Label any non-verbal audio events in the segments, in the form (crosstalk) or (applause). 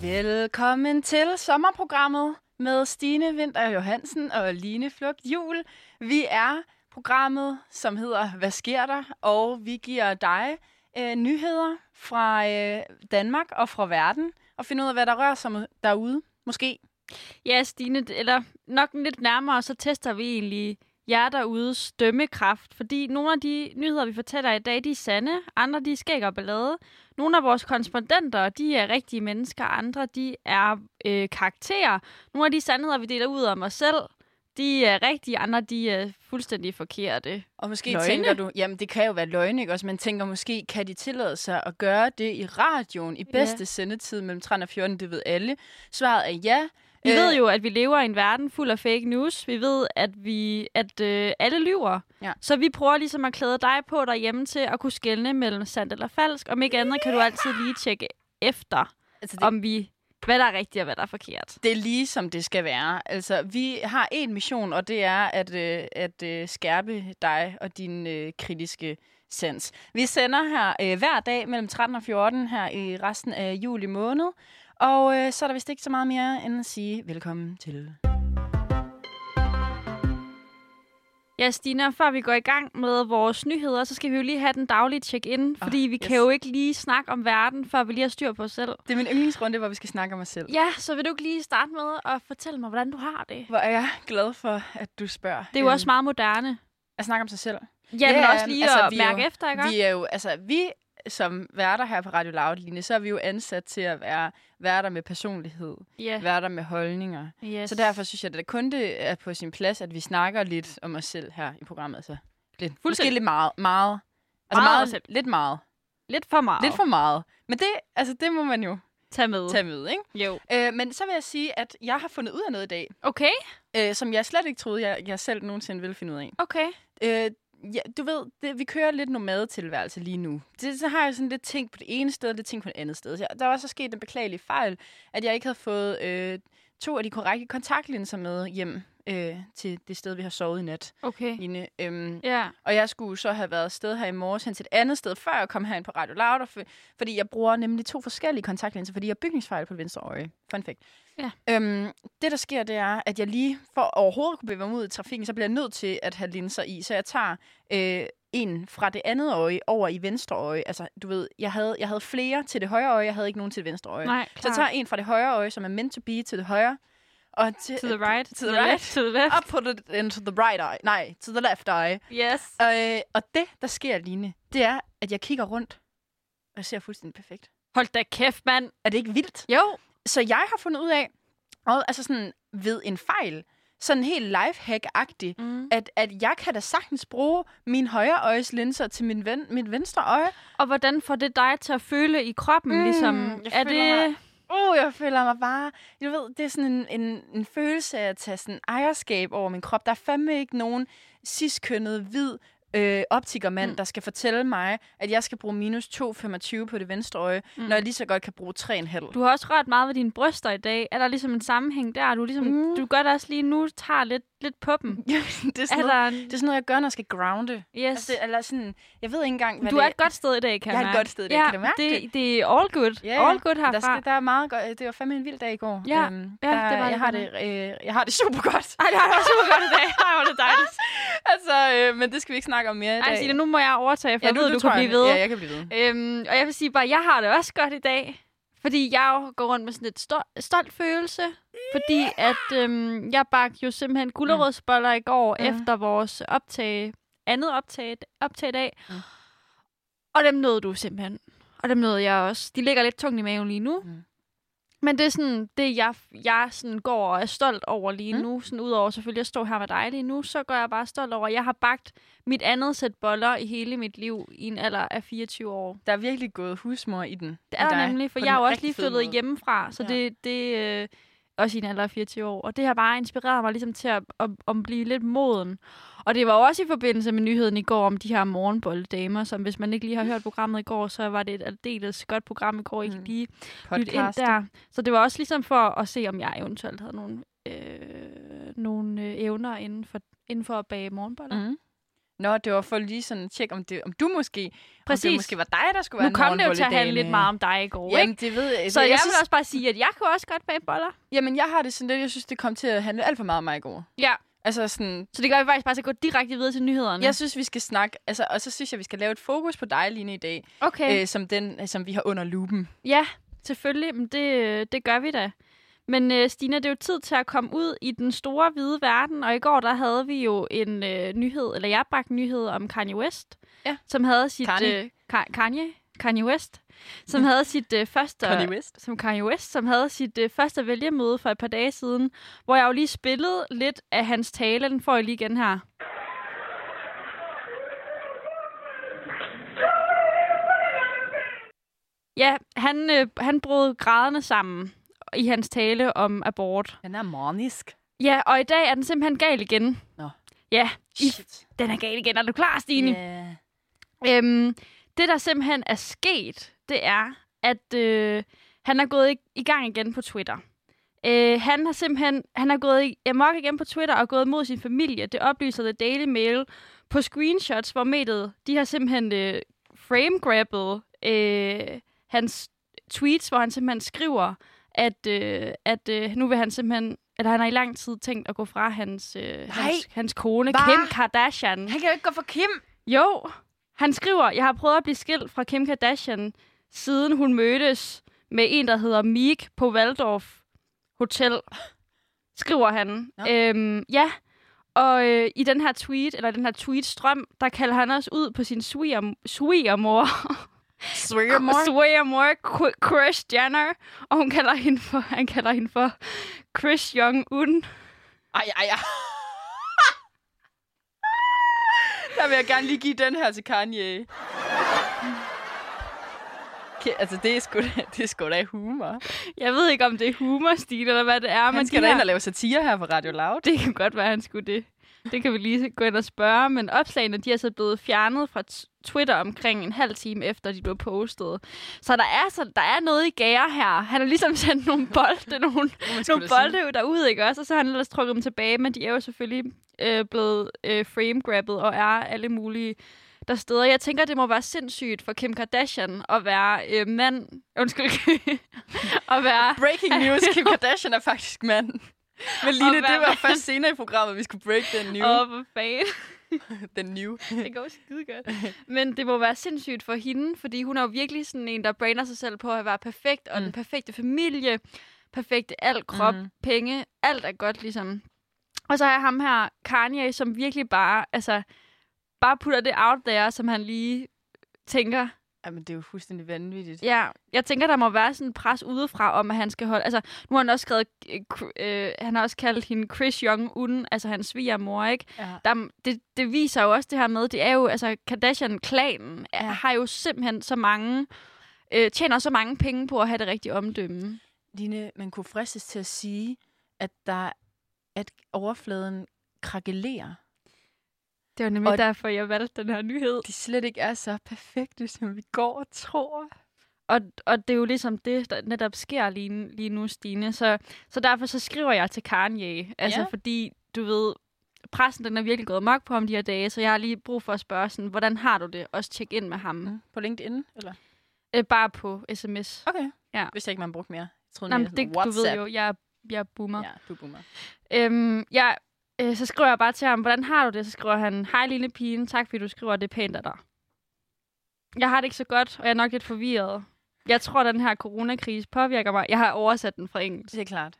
Velkommen til sommerprogrammet med Stine Vinter Johansen og Line Flugt Jul. Vi er programmet, som hedder Hvad sker der? Og vi giver dig øh, nyheder fra øh, Danmark og fra verden og finder ud af, hvad der rører sig derude. Måske. Ja, Stine, d- eller nok lidt nærmere, så tester vi egentlig jer derudes dømmekraft, fordi nogle af de nyheder, vi fortæller i dag, de er sande, andre de er skæg og ballade. Nogle af vores korrespondenter, de er rigtige mennesker, andre de er øh, karakterer. Nogle af de sandheder, vi deler ud om os selv, de er rigtige, andre de er fuldstændig forkerte. Og måske Løgne? løgne. tænker du, jamen det kan jo være løgne, ikke også? Man tænker måske, kan de tillade sig at gøre det i radioen i bedste sendetid mellem 13 og 14? Det ved alle. Svaret er ja. Vi Øh, ved jo, at vi lever i en verden fuld af fake news. Vi ved, at vi at øh, alle lyver. Ja. Så vi prøver ligesom at klæde dig på derhjemme til at kunne skelne mellem sandt eller falsk. Om ikke andet kan du altid lige tjekke efter, altså, det, om vi hvad der er rigtigt og hvad der er forkert. det er lige som det skal være. Altså, vi har en mission, og det er at, øh, at øh, skærpe dig og din øh, kritiske sans. Vi sender her øh, hver dag mellem 13 og 14 her i resten af juli måned. Og øh, så er der vist ikke så meget mere end at sige velkommen til. Ja, Stina, før vi går i gang med vores nyheder, så skal vi jo lige have den daglige check-in, fordi vi yes. kan jo ikke lige snakke om verden, før vi lige har styr på os selv. Det er min yndlingsrunde, hvor vi skal snakke om os selv. Ja, så vil du ikke lige starte med at fortælle mig, hvordan du har det? Hvor er jeg glad for, at du spørger. øh, Det er jo også meget moderne. At snakke om sig selv. Ja, men ja, også lige altså, altså, at vi er jo- mærke efter, ikke? Vi er jo, altså, vi som værter her på Radio Loud, Line, så er vi jo ansat til at være værter med personlighed, Ja. værter med holdninger. Yes. Så derfor synes jeg, at det kun det er på sin plads, at vi snakker lidt om os selv her i programmet. Så lidt, måske Fuldstændig. lidt meget. meget. Altså Meget meget, om meget os selv. lidt meget. lidt for meget. Lidt for meget. Men det, altså, det må man jo Tag med. tage med, ikke? Jo. Øh, men så vil jeg sige, at jeg har fundet ud af noget i dag, Okay, øh, som jeg slet ikke troede, jeg, jeg selv nogensinde ville finde ud af. okay. Øh, ja, du ved, det, vi kører lidt nomadetilværelse lige nu. Det, så har jeg sådan lidt tænkt på det ene sted, og lidt tænkt på det andet sted. Så jeg- der var så sket en beklagelig fejl, at jeg ikke havde fået øh, to af de korrekte kontaktlinser med hjem øh, til det sted, vi har sovet i nat, Okay. Line. Øhm, Ja. og jeg skulle så have været afsted her i morges hen til et andet sted, før jeg kom herind på Radio Loud, og f- fordi jeg bruger nemlig to forskellige kontaktlinser, fordi jeg har bygningsfejl på det venstre øje. Fun fact. Ja. Øhm, det, der sker, det er, at jeg lige for overhovedet at kunne bevæge mig ud i trafikken, så bliver jeg nødt til at have linser i, så jeg tager øh, en fra det andet øje over i venstre øje. Altså, du ved, jeg havde, jeg havde flere til det højre øje, jeg havde ikke nogen til det venstre øje. Nej, så jeg tager en fra det højre øje, som er meant to be til det højre, og til, To the right. to the right. left. To the left. (laughs) Up put it into the right eye. Nej, to the left eye. Yes. Øh, og det, der sker, Line, det er, at jeg kigger rundt, og jeg ser fuldstændig perfekt. Hold da kæft, mand. Er det ikke vildt? Jo. Så jeg har fundet ud af, og altså sådan ved en fejl, sådan helt lifehack-agtig, Mm. at, at jeg kan da sagtens bruge min højre øjes linser til min ven, mit venstre øje. Og hvordan får det dig til at føle i kroppen, Mm, ligesom? jeg Er føler det... mig- Uh, jeg føler mig bare... Du ved, det er sådan en, en, en følelse af at tage sådan ejerskab over min krop. Der er fandme ikke nogen ciskønnet, hvid øh, optikermand, Mm. mm. der skal fortælle mig, at jeg skal bruge minus 2,25 på det venstre øje, mm. når jeg lige så godt kan bruge 3,5. Du har også rørt meget ved dine bryster i dag. Er der ligesom en sammenhæng der? Du, ligesom, Mm. du gør det også lige nu, tager lidt, lidt på (laughs) dem. det, er sådan Er noget, der en... det er sådan noget, jeg gør, når jeg skal grounde. Yes. Altså, det, eller sådan, jeg ved ikke engang, hvad du det er et godt sted i dag, kan Jeg er et mærke. godt sted i dag, ja, kan du mærke det? Det er all good. Ja, ja. All good herfra. Der, skal, der er meget godt. Det var fandme en vild dag i går. Ja, øhm, ja, der, det var det jeg har det, fandme. øh, jeg har det (laughs) super (laughs) godt. Ej, det har jeg også super godt i dag. Ej, hvor er det dejligt. altså, øh, men det skal vi ikke snakke om mere i dag. Ej, Signe, nu må jeg overtage, for ja, jeg ved, du, du kan tror jeg- blive ved. Ja, jeg kan blive ved. Øhm, og jeg vil sige bare, at jeg har det også godt i dag. Fordi jeg jo går rundt med sådan lidt stol- stolt følelse. Fordi at øhm, jeg bagte jo simpelthen gulerodsboller i går Mhm. efter vores optag, andet optag, optag i dag. Mm. Og dem nåede du simpelthen. Og dem nåede jeg også. De ligger lidt tungt i maven lige nu. Mm. Men det er sådan, det jeg, jeg sådan går og er stolt over lige Mm. nu. Sådan udover selvfølgelig at stå her med dig lige nu, så går jeg bare stolt over, at jeg har bagt mit andet sæt boller i hele mit liv i en alder af 24 år. Der er virkelig gået husmor i den. Det er i der dig, nemlig, for på jeg er den jo også rigtig lige fede flyttet måde. hjemmefra, så Ja. det, det øh, også i en alder af 24 år. Og det har bare inspireret mig ligesom til at, at, at blive lidt moden. Og det var jo også i forbindelse med nyheden i går om de her morgenbolddamer, som hvis man ikke lige har hørt programmet i går, så var det et aldeles godt program i går, I kan Mm. lige lytte ind Podcast. der. Så det var også ligesom for at se, om jeg eventuelt havde nogle, øh, nogle øh, evner inden for, inden for at bage morgenboller. Mm. Nå, det var for lige sådan at tjekke, om, det, om du måske... Om Præcis. det måske var dig, der skulle Nu være kom det jo til at morgenbolledagen, handle lidt øh. meget om dig i går, Jamen, ikke? det ved jeg. Så det, jeg jeg vil også bare sige, at jeg kunne også godt bage boller. Jamen, jeg har det sådan lidt, jeg synes, det kom til at handle alt for meget om mig i går. Ja. Mm. Altså sådan, Så det gør vi faktisk bare så gå direkte videre til nyhederne. jeg synes, vi skal snakke, altså, og så synes jeg, vi skal lave et fokus på dig, Line, i dag, Okay. okay. øh, som den, øh, som vi har under lupen. Ja, selvfølgelig. Men det, øh, det gør vi da. Men øh, Stina, det er jo tid til at komme ud i den store hvide verden, og i går der havde vi jo en øh, nyhed, eller jeg bragte en nyhed om Kanye West, Ja. som havde sit... Kanye. Mm. Øh, Ka- Kanye? Kanye West? Som havde sit øh, første... Kanye West. Som Kanye West, som havde sit øh, første vælgermøde for et par dage siden, hvor jeg jo lige spillede lidt af hans tale, den får jeg lige igen her. Ja, han, øh, han brød græderne sammen i hans tale om abort. Den er manisk. Ja, og i dag er den simpelthen gal igen. Nå. Ja, i, Shit. den er gal igen. Er du klar, Stine? Yeah. Øhm, det, der simpelthen er sket, det er, at øh, han er gået i, i gang igen på Twitter. Øh, han har simpelthen han er gået i amok igen på Twitter og gået mod sin familie. Det oplyser The Daily Mail på screenshots, hvor mediet de har simpelthen øh, framegrabbet øh, hans tweets, hvor han simpelthen skriver, at, øh, at øh, nu vil han simpelthen eller han har i lang tid tænkt at gå fra hans, øh, hans, hans kone, Hva? Kim Kardashian. Han kan jo ikke gå for Kim. Jo, han skriver, jeg har prøvet at blive skilt fra Kim Kardashian, siden hun mødtes med en, der hedder Meek på Waldorf Hotel, skriver han. Nå. Øhm, ja, og øh, i den her tweet, eller den her tweetstrøm, der kalder han også ud på sin sviger, svigermor, Swearmore. (laughs) svigermor, Chris Jenner, og hun kalder hende for, (laughs) han kalder hende for Chris Jong-un. Ej, ej, (laughs) ej. Der vil jeg gerne lige give den her til Kanye. Okay, altså, det er sgu da, (laughs) det er sgu da humor. Jeg ved ikke, om det er humor, Stine, eller hvad det er. men Han skal de da her- ind og lave satire her på Radio Loud. (laughs) Det kan godt være, han skulle det. Det kan vi lige gå ind og spørge, men opslagene de er så blevet fjernet fra t- Twitter omkring en halv time efter, de blev postet. Så der er, så, der er noget i gære her. Han har ligesom (laughs) sendt nogle bolde, nogle, nogle bolde derude, ikke også? Og så har han ellers trukket dem tilbage, men de er jo selvfølgelig øh, blevet øh, framegrabbet og er alle mulige der steder. Jeg tænker, det må være sindssygt for Kim Kardashian at være øh, mand... Undskyld, (laughs) at være... (laughs) Breaking news, Kim Kardashian er faktisk mand. Men Line, hvad det var mand? først senere i programmet, vi skulle break den new. Åh, hvor fanden. Den new. (laughs) Det går skide godt. Men det må være sindssygt for hende, fordi hun er jo virkelig sådan en, der brander sig selv på at være perfekt, og mm. Mm. den perfekte familie, perfekte alt, krop, mm. penge, alt er godt ligesom. Og så har jeg ham her, Kanye, som virkelig bare, altså, bare putter det out there, som han lige tænker. Jamen, det er jo fuldstændig vanvittigt. Ja, jeg tænker, der må være sådan en pres udefra om, at han skal holde... Altså, nu har han også skrevet... øh, Kr- Øh, han har også kaldt hende Chris Jong-un, altså hans svigermor, ikke? Ja. der, det, det viser jo også det her med, det er jo, altså Kardashian-klanen ja. Ja. har jo simpelthen så mange, øh, tjener så mange penge på at have det rigtige omdømme. Line, man kunne fristes til at sige, at, der, at overfladen krakelerer. Det var nemlig Og- derfor, jeg valgte den her nyhed. De slet ikke er så perfekte, som vi går og tror. Og, og det er jo ligesom det, der netop sker lige, lige nu, Stine. Så, så derfor så skriver jeg til Kanye, altså Ja. fordi, du ved, pressen den er virkelig gået mok på om de her dage, så jeg har lige brug for at spørge sådan, hvordan har du det? Også tjek ind med ham. Mm. Mm. På LinkedIn, eller? Øh, bare på sms. Okay. Ja. Hvis jeg ikke, man brugte mere. Jeg troede, Nej, mere men sådan det, du ved WhatsApp. jo, jeg, er- jeg er boomer. Ja, du er boomer. Øhm, ja, øh, så skriver jeg bare til ham, hvordan har du det? Så skriver han, hej lille pigen, tak fordi du skriver, det er pænt af dig. Jeg har det ikke så godt, og jeg er nok lidt forvirret. Jeg tror, den her coronakrise påvirker mig. Jeg har oversat den fra engelsk. Det er klart.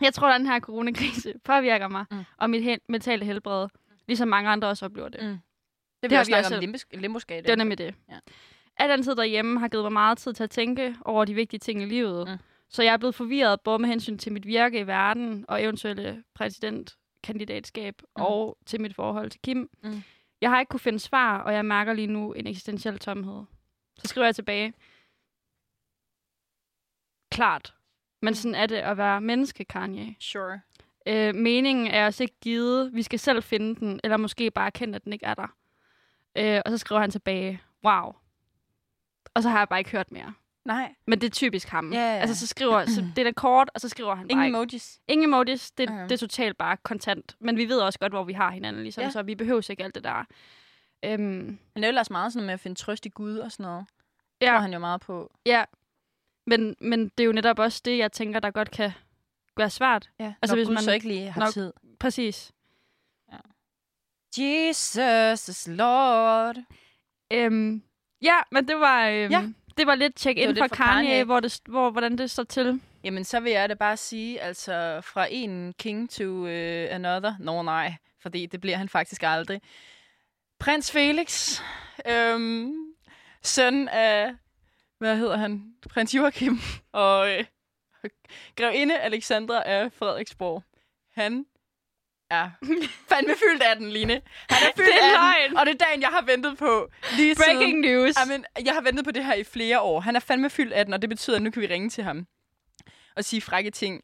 Jeg tror, den her coronakrise (laughs) påvirker mig mm. Mm. og mit he- mentale helbred, ligesom mange andre også oplever det. Mm. Mm. Det, Det vi altså- har også vi snakke om også- limbus- limbuskade. Det var nemlig det. Ja. Al den tid derhjemme har givet mig meget tid til at tænke over de vigtige ting i livet. Mm. Så jeg er blevet forvirret både med hensyn til mit virke i verden og eventuelle præsidentkandidatskab Mm. og til mit forhold til Kim. Mm. Jeg har ikke kunne finde svar, og jeg mærker lige nu en eksistentiel tomhed. Så skriver jeg tilbage. Klart. Mm. Men sådan er det at være menneske, Kanye. Sure. Øh, meningen er os ikke givet. Vi skal selv finde den, eller måske bare erkende, at den ikke er der. Øh, og så skriver han tilbage, wow. Og så har jeg bare ikke hørt mere. Nej. Men det er typisk ham. Ja, ja, ja. Altså, så skriver, så det er da kort, og så skriver han Ingen bare ikke. emojis. Ingen emojis. Det, Mhm. det er totalt bare kontant. Men vi ved også godt, hvor vi har hinanden, ligesom, Ja. ja. så vi behøver ikke alt det der. Øhm, Han er ellers meget sådan noget med at finde trøst i Gud og sådan noget. Ja. Tror ja, han jo meget på. men, men det er jo netop også det, jeg tænker, der godt kan være svært. Ja. Altså, Altså, Når hvis Gud man man så ikke lige har nok- tid. Præcis. Jesus is Lord. Øhm, ja, men det var, øhm, Ja. ja. det var lidt Det var check-in lidt fra fra Kanye, Kanye. Kanye, hvor det, hvor, hvordan det står til. Jamen, så vil jeg da bare sige, altså fra en king to uh, another. Nå no, nej, fordi det bliver han faktisk aldrig. Prins Felix, øhm, søn af, hvad hedder han? Prins Joachim (laughs) og øh, grevinde Alexandra af Frederiksborg. Han (laughs) er fandme fyldt af den, Line. Han er fyldt Det er af den, løgn. og det er dagen, jeg har ventet på. Lige siden. Breaking news. Amen, jeg har ventet på det her i flere år. Han er fandme fyldt af den, og det betyder, at nu kan vi ringe til ham og sige frække ting.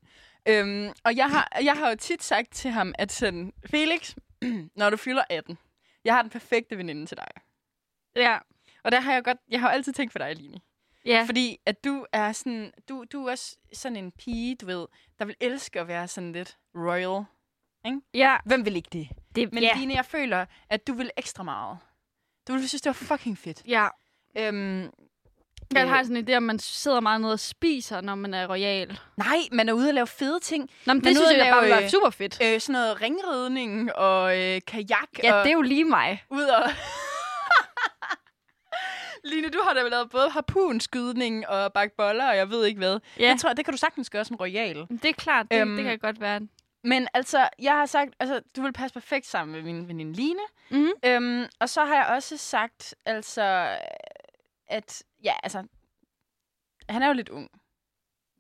Øhm, og jeg har, jeg har jo tit sagt til ham, at sådan, Felix, (clears throat) når du fylder 18, jeg har den perfekte veninde til dig. Ja. Og der har jeg godt, jeg har jo altid tænkt på dig, Line. Ja. Fordi at du er sådan, du, du er også sådan en pige, du ved, der vil elske at være sådan lidt royal. ja. Hvem vil ikke det? Det, Men yeah. Line, jeg føler, at du vil ekstra meget. Du vil synes, det var fucking fedt. ja. Øhm, Jeg Øh. har sådan en idé, om man sidder meget nede og spiser, når man er royal. nej, man er ude og lave fede ting. Nå, men Men det ude synes at jeg bare lave, ville øh, være super fedt. øh, sådan noget ringridning og øh, kajak Ja, og det er jo lige mig. ud og... (laughs) Line, du har da lavet både harpunskydning og bakke boller, og jeg ved ikke hvad. Ja, Det tror jeg, det kan du sagtens gøre som royal. det er klart. Det, Øhm. det kan godt være. Men altså, jeg har sagt, altså, du vil passe perfekt sammen med min veninde Line. Mhm. Øhm, og så har jeg også sagt, altså, at, ja, altså, han er jo lidt ung.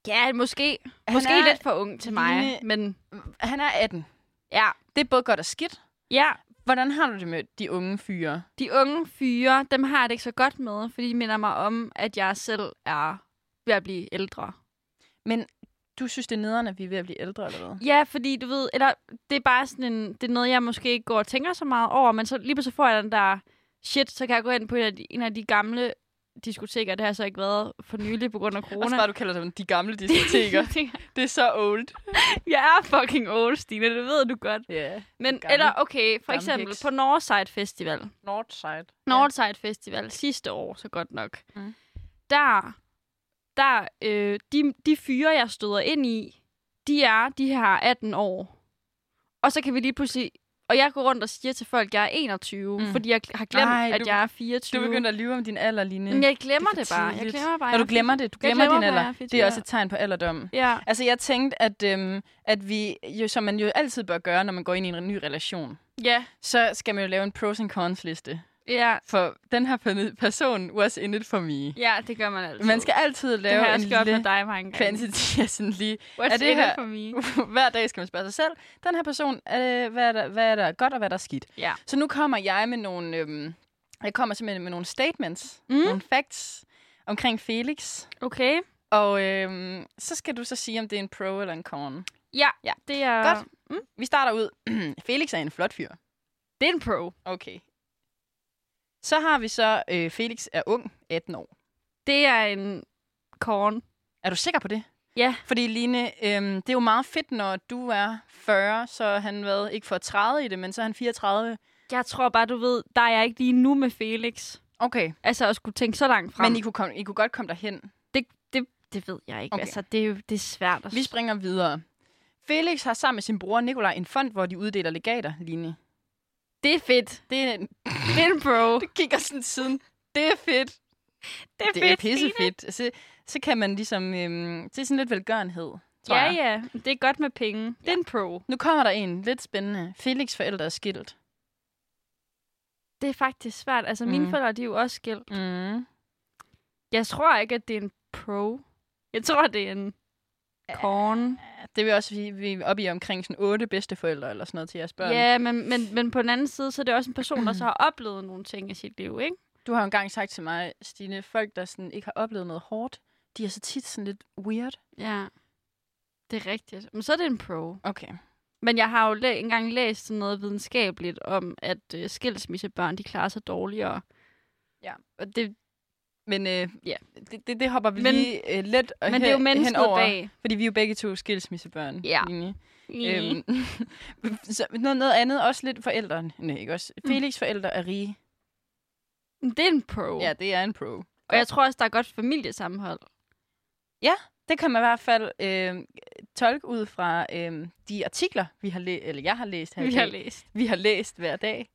Ja, måske. Han Måske er, lidt for ung til mig, Line- men Han er 18. ja. Det er både godt og skidt. Ja, Hvordan har du det med de unge fyre? de unge fyre, dem har jeg det ikke så godt med, fordi de minder mig om, at jeg selv er ved at blive ældre. Men du synes, det er nederen, at vi er ved at blive ældre, eller hvad? Ja, fordi du ved, eller det er bare sådan en, det er noget, jeg måske ikke går og tænker så meget over, men så lige pludselig får jeg den der, shit, så kan jeg gå ind på en af de, en af de gamle diskoteker, det har så ikke været for nylig på grund af corona. (laughs) Også bare, du kalder dem de gamle diskoteker. det er så old. jeg er fucking old, Stine, det ved du godt. Ja. Yeah. Men, Gammel- eller okay, for gammel eksempel heks. på Northside Festival, Northside. Northside Festival sidste år, så godt nok. Mm. Mm. Der, der øh, de, de fyre, jeg støder ind i, de er de her 18 år. Og så kan vi lige pludselig... Og jeg går rundt og siger til folk, at jeg er 21, Mm. mm. fordi jeg har glemt, Ej, Ej, at du- jeg er 24. Du begynder at lyve om din alder, Line. Men jeg glemmer det, Det er det for bare. Jeg tidligt. glemmer bare. Når du glemmer det, du Jeg glemmer, glemmer, din hvad alder. jeg er fedt, det er ja. også et tegn på alderdom. Ja, Altså, jeg tænkte, at, øhm, at vi, jo, som man jo altid bør gøre, når man går ind i en ny relation, ja, så skal man jo lave en pros and cons liste. ja, For den her pe- person was in it for me. ja, det gør man altid. Man skal altid det har lave jeg en også gjort med lille dig mange gange. quantity af sådan lige What's Er det in it her- for me? (laughs) hver dag skal man spørge sig selv, den her person, øh, hvad, er der, hvad er der godt og hvad er der skidt? Ja. Så nu kommer jeg med nogle, øhm, jeg kommer simpelthen med nogle statements, mm. Mm. nogle facts omkring Felix. Okay. Og øhm, så skal du så sige, om det er en pro eller en con. Ja, Ja. ja. det er... Godt. Vi starter ud. (clears throat) Felix er en flot fyr. Det er en pro. Okay. Så har vi så, øh, Felix er ung, 18 år. Det er en korn. Er du sikker på det? Ja. Fordi Line, øhm, det er jo meget fedt, når du er 40, så er han været ikke for 30 i det, men så er han 34. Jeg tror bare, du ved, der er jeg ikke lige nu med Felix. Okay. Altså at skulle tænke så langt frem. Men I kunne, komme, I kunne godt komme derhen. det, det, det ved jeg ikke. Okay. Okay. Altså, det er jo det er svært at... Vi springer videre. Felix har sammen med sin bror Nikolaj en fond, hvor de uddeler legater, Line. Det er fedt. Det, er- Det er en pro. det kigger sådan siden. Det er fedt. Det er, Det er fedt, pissefedt. Så, så kan man ligesom... Øhm, det er sådan lidt velgørenhed, tror Stine. Ja, jeg. ja. Det er godt med penge. Det er en pro. Nu kommer der en lidt spændende. Felix' forældre er skilt. Det er faktisk svært. Altså, mine Mm. forældre, de er jo også skilt. Mm. Jeg tror ikke, at det er en pro. Jeg tror, det er en korn. Det vil også sige, vi er oppe i omkring sådan otte bedsteforældre eller sådan noget til jeres børn. Ja, men, men, men på den anden side, så er det også en person, der så har oplevet nogle ting i sit liv, ikke? Du har jo engang sagt til mig, Stine, folk, der sådan ikke har oplevet noget hårdt, de er så tit sådan lidt weird. Ja. Det er rigtigt. Men så er det en pro. Okay. Men jeg har jo læ- engang læst sådan noget videnskabeligt om, at øh, skilsmissebørn, de klarer sig dårligere. Ja. Og det, Men øh, Ja. det, det, det hopper vi Men- lige øh, let og Men det er jo mennesket henover, bag. fordi vi er jo begge to skilsmissebørn. Ja. Line. Mm. Øhm, (laughs) så noget, noget andet, også lidt forældrene, Nej, ikke også? Mm. Felix' forældre er rige. Men Det er en pro. Ja, det er en pro. Og jeg tror også, der er godt familiesammenhold. Det kan man i hvert fald øh, tolke ud fra øh, de artikler, vi har læ- eller jeg har læst her i Vi dag. har læst. vi har læst hver dag.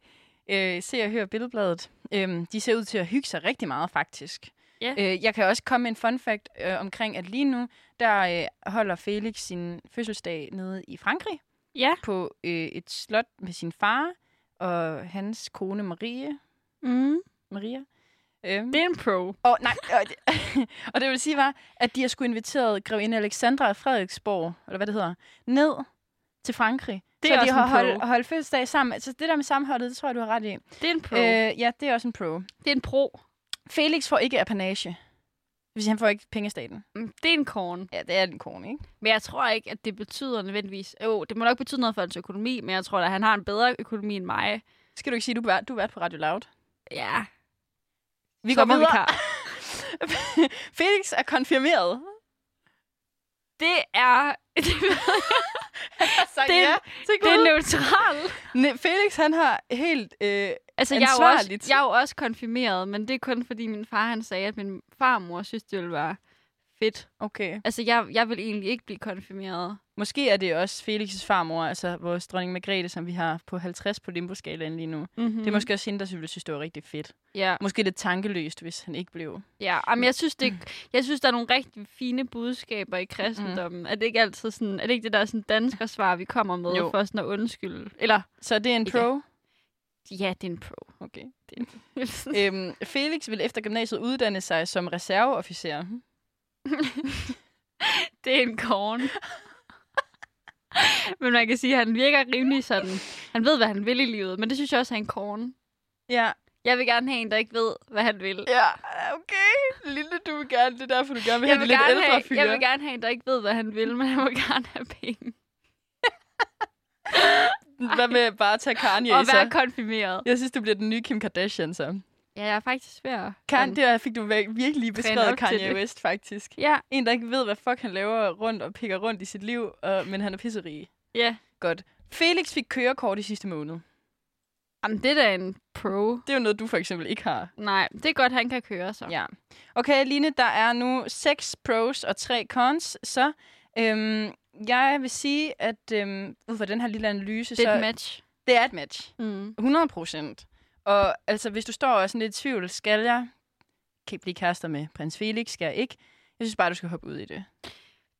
Øh, se og hør Billedbladet. Øh, de ser ud til at hygge sig rigtig meget, faktisk. Ja. Øh, jeg kan også komme med en fun fact øh, omkring, at lige nu, der øh, holder Felix sin fødselsdag nede i Frankrig Ja. på øh, et slot med sin far og hans kone Marie. Mm. Maria. Øh, Det er en pro. og, nej, og, det, (laughs) og det vil sige var, at de har skulle inviteret grevinde Alexandra af Frederiksborg, eller hvad det hedder, ned til Frankrig. Det så er de også har en pro. holdt, holdt fødselsdag sammen. Så det der med sammenholdet, det tror jeg, du har ret i. Det er en pro. Øh. Øh, ja, det er også en pro. Det er en pro. Felix får ikke apanage. Hvis han får ikke penge af staten. Mm, Det er en korn. Ja, det er den kone, ikke? Men jeg tror ikke, at det betyder nødvendigvis... Jo, det må nok betyde noget for hans økonomi, men jeg tror da, at han har en bedre økonomi end mig. Skal du ikke sige, du er, du er vært på Radio Loud? Ja. Vi går videre. (laughs) Sommervikar. Felix er (laughs) konfirmeret. Det er... (laughs) Altså, Det er- så det er neutralt. det Felix, han har helt... Øh, Altså, jeg er, jo også, Ansvarligt. jeg er jo også konfirmeret, men det er kun fordi min far han sagde, at min farmor synes, det ville være fedt. okay. Altså, jeg, jeg vil egentlig ikke blive konfirmeret. Måske er det også Felix' farmor, altså vores dronning Margrethe, som vi har på 50 på limboskalaen lige nu. Mm. Mm-hmm. Det er måske også hende, der ville synes, det var rigtig fedt. Ja, Måske lidt tankeløst, hvis han ikke blev. ja. Jamen, jeg, synes, det, jeg synes, der er nogle rigtig fine budskaber Mm-hmm. i kristendommen. Mm. Er det ikke altid sådan, er det ikke det der sådan danskersvar, vi kommer med Jo. jo. for sådan at undskylde? Eller, Så det er en Ikke. pro. ja, det er en (laughs) pro. (laughs) Okay. Øhm, Felix ville efter gymnasiet uddanne sig som reserveofficer. det er en korn. (laughs) men man kan sige, at han virker rimelig sådan. Han ved, hvad han vil i livet, men det synes jeg også er en korn. Ja. Jeg vil gerne have en, der ikke ved, hvad han vil. Ja, okay. Lille, du vil gerne. Det er derfor, du gerne vil Jeg have de vil, lidt gerne ældre have, fyre. jeg vil gerne have en, der ikke ved, hvad han vil, men han vil (laughs) gerne have penge. Hvad med bare at tage Kanye og og være så? konfirmeret. Jeg synes, du bliver den nye Kim Kardashian, så. Ja, jeg er faktisk ved at... Kan, det fik du væk- virkelig lige Træne beskrevet op til Kanye det. West, faktisk. Ja, En, der ikke ved, hvad fuck han laver rundt og pikker rundt i sit liv, og, men han er pisserig. ja. Godt. Felix fik kørekort i sidste måned. Jamen, det er da en pro. Det er jo noget, du for eksempel ikke har. Nej, det er godt, han kan køre så. Ja. Okay, Line, der er nu seks pros og tre cons, så øhm, jeg vil sige, at øhm, ud fra den her lille analyse, Det er så et match. det er et match. Mm. 100 procent. Og altså, hvis du står og er sådan lidt i tvivl, skal jeg kan ikke blive kærester med prins Felix? Skal jeg ikke? Jeg synes bare, du skal hoppe ud i det.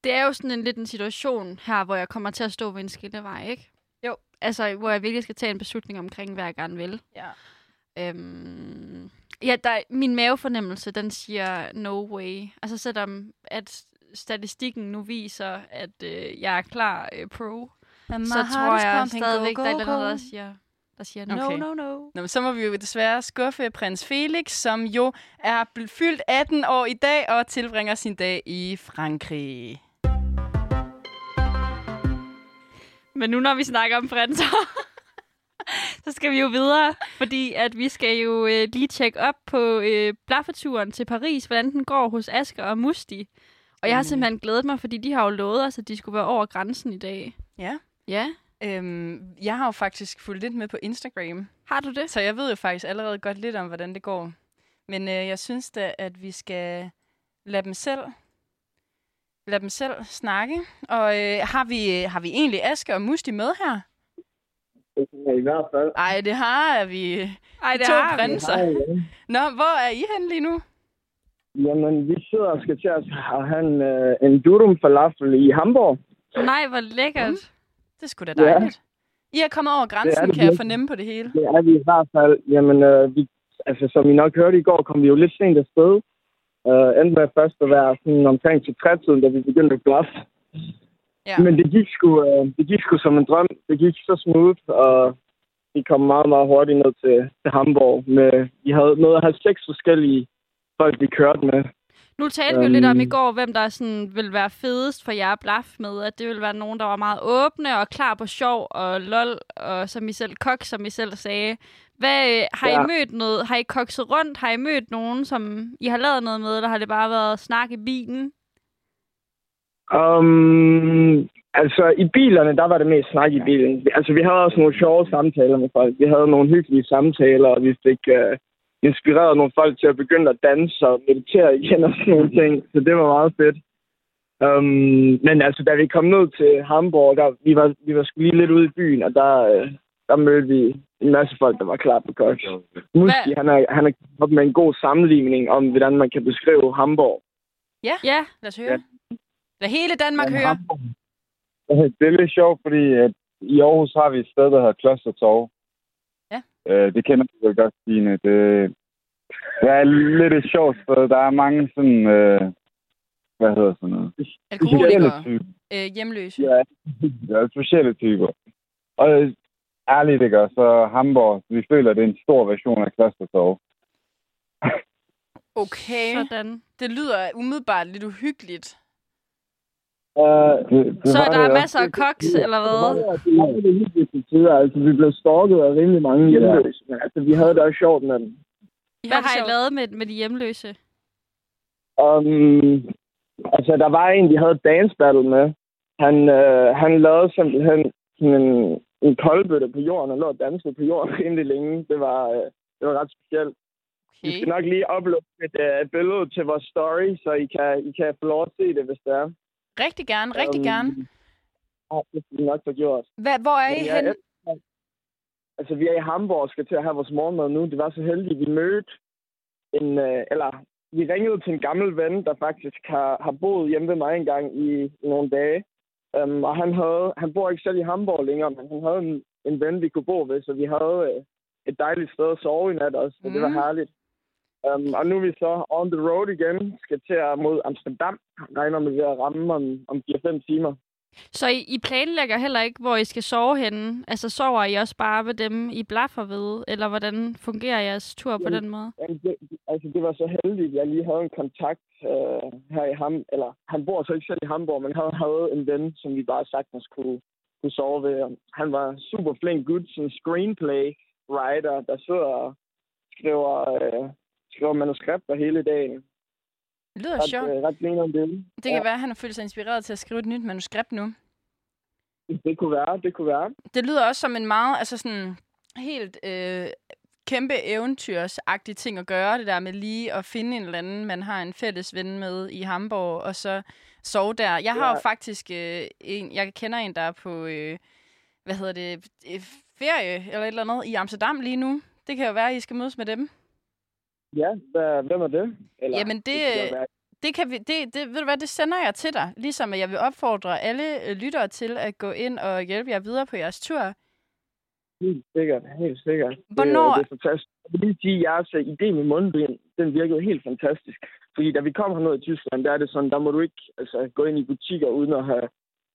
Det er jo sådan en lidt en situation her, hvor jeg kommer til at stå ved en skillevej, ikke? Jo. Altså, hvor jeg virkelig skal tage en beslutning omkring, hvad jeg gerne vil. Ja. Øhm, ja, der, min mavefornemmelse, den siger no way. Altså selvom at statistikken nu viser, at øh, jeg er klar øh, pro, så tror jeg stadigvæk, der er et eller andet, der siger, der siger no, Okay. okay. no, no. Nå, men så må vi jo desværre skuffe prins Felix, som jo er bl- fyldt 18 år i dag og tilbringer sin dag i Frankrig. Men nu når vi snakker om prinser, (laughs) så skal vi jo videre, fordi at vi skal jo øh, lige tjekke op på øh, blaffeturen til Paris, hvordan den går hos Asker og Musti. Og jeg har Spændende. simpelthen glædet mig, fordi de har jo lovet os, at de skulle være over grænsen i dag. Ja. Ja. Øhm, jeg har jo faktisk fulgt lidt med på Instagram, Har du det? så jeg ved jo faktisk allerede godt lidt om, hvordan det går. Men øh, jeg synes da, at vi skal lade dem selv, lade dem selv snakke. Og øh, har, vi, har vi egentlig Aske og Musti med her? Det kan jeg i hvert fald. Nej, det har vi. Ej, to vi. prinser. så. Hej igen. Nå, hvor er I henne lige nu? Jamen, vi sidder og skal til at have en, øh, en durum falafel i Hamburg. Nej, hvor lækkert. Det skulle da Ja. dejligt. I er kommet over grænsen, det kan jeg virkelig. fornemme på det hele. Det er vi i hvert fald. Jamen, øh, vi, altså, som I nok hørte i går, kom vi jo lidt sent afsted. Øh, endte med først at være sådan omkring til trætiden, da vi begyndte at blaffe. Ja. Men det gik, sgu, øh, det gik sgu som en drøm. Det gik så smooth, og vi kom meget, meget hurtigt ned til, til Hamburg. Med, vi havde noget at have seks forskellige folk, vi kørte med. Nu talte um... vi jo lidt om i går, hvem der sådan vil være fedest for jer blaf med, at det vil være nogen, der var meget åbne og klar på sjov og lol, og som I selv kok, som I selv sagde. Hvad, øh, har I Ja. mødt noget? Har I kokset rundt? Har I mødt nogen, som I har lavet noget med, eller har det bare været snak i bilen? Um, altså, i bilerne, der var det mest snak i bilen. Altså, vi havde også nogle sjove samtaler med folk. Vi havde nogle hyggelige samtaler, og vi fik uh, inspireret nogle folk til at begynde at danse og meditere igen og sådan nogle ting. Så det var meget fedt. Um, men altså, da vi kom ned til Hamburg, der, vi, var, vi var sgu lige lidt ude i byen, og der, øh, der mødte vi en masse folk, der var klar på koks. Muski, han er, han er kommet med en god sammenligning om, hvordan man kan beskrive Hamburg. Ja, Lad os høre. Lad hele Danmark Men høre. Hamburg, (laughs) Det er lidt sjovt, fordi at i Aarhus har vi et sted, der hedder Klostertorv. Ja. Øh, det kender du vel godt, Stine. Det, det er lidt et sjovt sted. Der er mange sådan... Øh, hvad hedder sådan noget? Alkoholikere, typer. øh, hjemløse. Ja, ja specielle typer. Og øh, ærligt, ikke? også? Så Hamburg, vi føler, det er en stor version af Klostertorv. Okay, sådan. det lyder umiddelbart lidt uhyggeligt. øh, Det, det Så var der det er også. masser af koks, eller hvad? Det var det hyggeligt til tider. Altså, vi blev stalket af rimelig mange hjemløse. Men altså, vi havde det også sjovt med dem. I Hvad det har I sjovt. lavet med, med de hjemløse? Um, altså, der var en, vi havde dance battle med. Han, øh, han lavede simpelthen sådan en, en koldbøtte på jorden, og lå og dansede på jorden (laughs) rimelig længe. Det var, øh, det var ret specielt. Vi Okay. skal nok lige uploade et øh, billede til vores story, så I kan, I kan få lov at se det, hvis det er. Rigtig gerne, rigtig Øhm, gerne. Ja, det skal vi nok få gjort. Hvad, hvor er I Men hen? jeg elsker- Altså, vi er i Hamburg og skal til at have vores morgenmad nu. Det var så heldigt, vi mødte en... Øh, eller, vi ringede til en gammel ven, der faktisk har, har boet hjemme ved mig engang i, i nogle dage. Um, og han havde... Han bor ikke selv i Hamburg længere, men han havde en, en ven, vi kunne bo ved, så vi havde øh, et dejligt sted at sove i nat også, så mm. det var Mm. herligt. Um, og nu er vi så on the road igen, skal til at mod Amsterdam. Regner med, at vi er at ramme om, om 4-5 timer. Så I, I planlægger heller ikke, hvor I skal sove henne? Altså sover I også bare ved dem, I blaffer ved? Eller hvordan fungerer jeres tur på den måde? Jamen, det, altså, det var så heldigt, jeg lige havde en kontakt øh, her i Ham, eller han bor så ikke selv i Hamburg, men han havde en ven, som vi bare sagtens kunne, kunne sove ved. Og Han var super flink gut, sådan en screenplay writer, der sidder og skriver, øh, skriver manuskripter hele dagen. Det lyder Ret, sjovt. øh, ret griner om det. Det kan være, at han har følt sig inspireret til at skrive et nyt manuskript nu. Det kunne være, det kunne være. Det lyder også som en meget, altså sådan helt øh, kæmpe eventyrsagtig ting at gøre, det der med lige at finde en eller anden, man har en fælles ven med i Hamburg, og så sove der. Jeg har ja. Ja. jo faktisk øh, en, jeg kender en, der er på, øh, hvad hedder det, øh, ferie eller et eller andet i Amsterdam lige nu. Det kan jo være, at I skal mødes med dem. Ja, hvad, hvem er det? Eller, Jamen, det- kunne godt være. Det kan vi, det, det, ved du hvad, det sender jeg til dig, ligesom at jeg vil opfordre alle øh, lyttere til at gå ind og hjælpe jer videre på jeres tur. Helt sikkert, helt sikkert. Hvornår- Det, det er fantastisk. Jeg vil lige sige, at jeres øh, idé med mundbind, den virkede helt fantastisk. Fordi da vi kom herned i Tyskland, der er det sådan, der må du ikke altså, gå ind i butikker uden at have,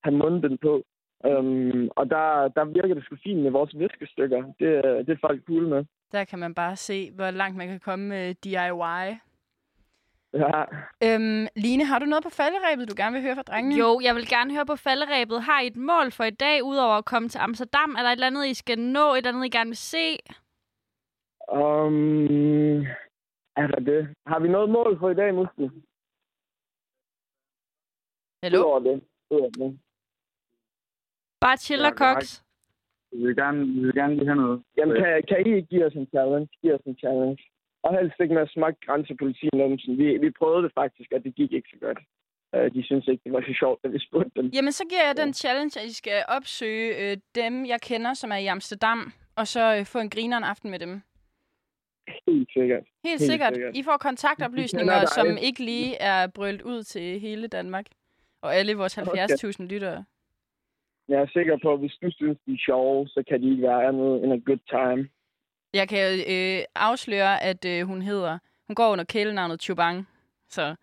have mundbind på. Um, og der, der virker det sgu fint med vores viskestykker. Det, øh, det er folk cool med. Der kan man bare se, hvor langt man kan komme med DIY. Ja. Øhm, Line, har du noget på falderæbet, du gerne vil høre fra drengene? Jo, jeg vil gerne høre på falderæbet. Har I et mål for i dag, udover at komme til Amsterdam? Er der et eller andet, I skal nå? Et eller andet, I gerne vil se? Um, er der det? Har vi noget mål for i dag, Musti? Hallo? Udover det. Udover det. Bare chill Ja, og koks. Vi vil gerne, vi vil gerne lige have noget. Jamen, kan, kan I ikke give os en challenge? Giv os en challenge. Og helst ikke med at smage grænsepolitinumsen. Vi, vi prøvede det faktisk, og det gik ikke så godt. Uh, de synes ikke, det var så sjovt, da vi spurgte dem. Jamen, så giver jeg den challenge, at I skal opsøge øh, dem, jeg kender, som er i Amsterdam, og så øh, få en grineren aften med dem. Helt sikkert. Helt, Helt sikkert. sikkert. I får Vi kontaktoplysninger, kender dig. som ikke lige er brøllet ud til hele Danmark. Og alle vores 70.000 lyttere. Jeg er sikker på, at hvis du synes, de er sjove, så kan de ikke være andet end a good time. Jeg kan jo, øh, afsløre, at øh, hun hedder... Hun går under kælenavnet Chubang. Så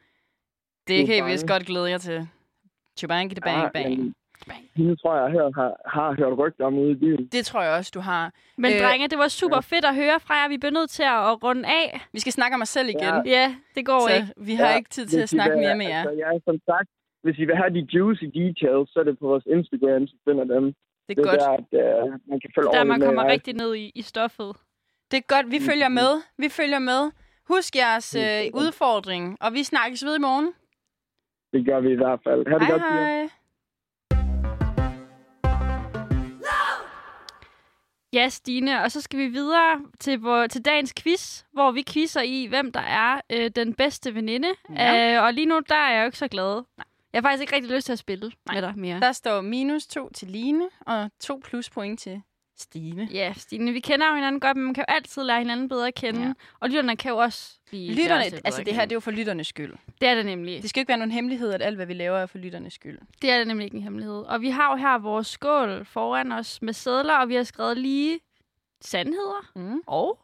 det kan I Chubang. vist godt glæde jer til. Chubang, det bang, Ah, bang. jamen, Hende tror jeg, her har, har hørt rygter om ude i byen. Det tror jeg også, du har. Men Øh, øh, drenge, det var super fedt at høre fra jer. Vi bliver nødt til at, at runde af. Vi skal snakke om os selv igen. Ja. Ja, det går ikke. Så vi har Ja, ikke tid til at Hvis I snakke vil- mere med jer. Altså, ja, som sagt, hvis I vil have de juicy details, så er det på vores Instagram, så finder dem. Det er Det er godt. der, at, øh, man kan følge Der ordentligt man kommer med jer. rigtig ned i, i stoffet. Det er godt. Vi Mm, følger med. Vi følger med. Husk jeres øh, udfordring, og vi snakkes ved i morgen. Det gør vi i hvert fald. Ha' det Hej godt, piger. hej. Ja, Stine, og så skal vi videre til, vor, til dagens quiz, hvor vi quizzer i, hvem der er øh, den bedste veninde. Ja. Ja. Øh, og lige nu, der er jeg jo ikke så glad. Jeg har faktisk ikke rigtig lyst til at spille Nej. med dig mere. Der står minus to til Line, og to plus point til Stine. Ja, Stine, vi kender jo hinanden godt, men man kan jo altid lære hinanden bedre at kende. Ja. Ja. Og lytterne kan jo også blive lære os Lytterne, lidt altså bedre det her, at det er jo for lytternes skyld. kende. det er det nemlig. Det skal jo ikke være nogen hemmelighed, at alt, hvad vi laver, er for lytternes skyld. Det er det nemlig ikke en hemmelighed. Og vi har jo her vores skål foran os med sædler, og vi har skrevet lige sandheder Mm. og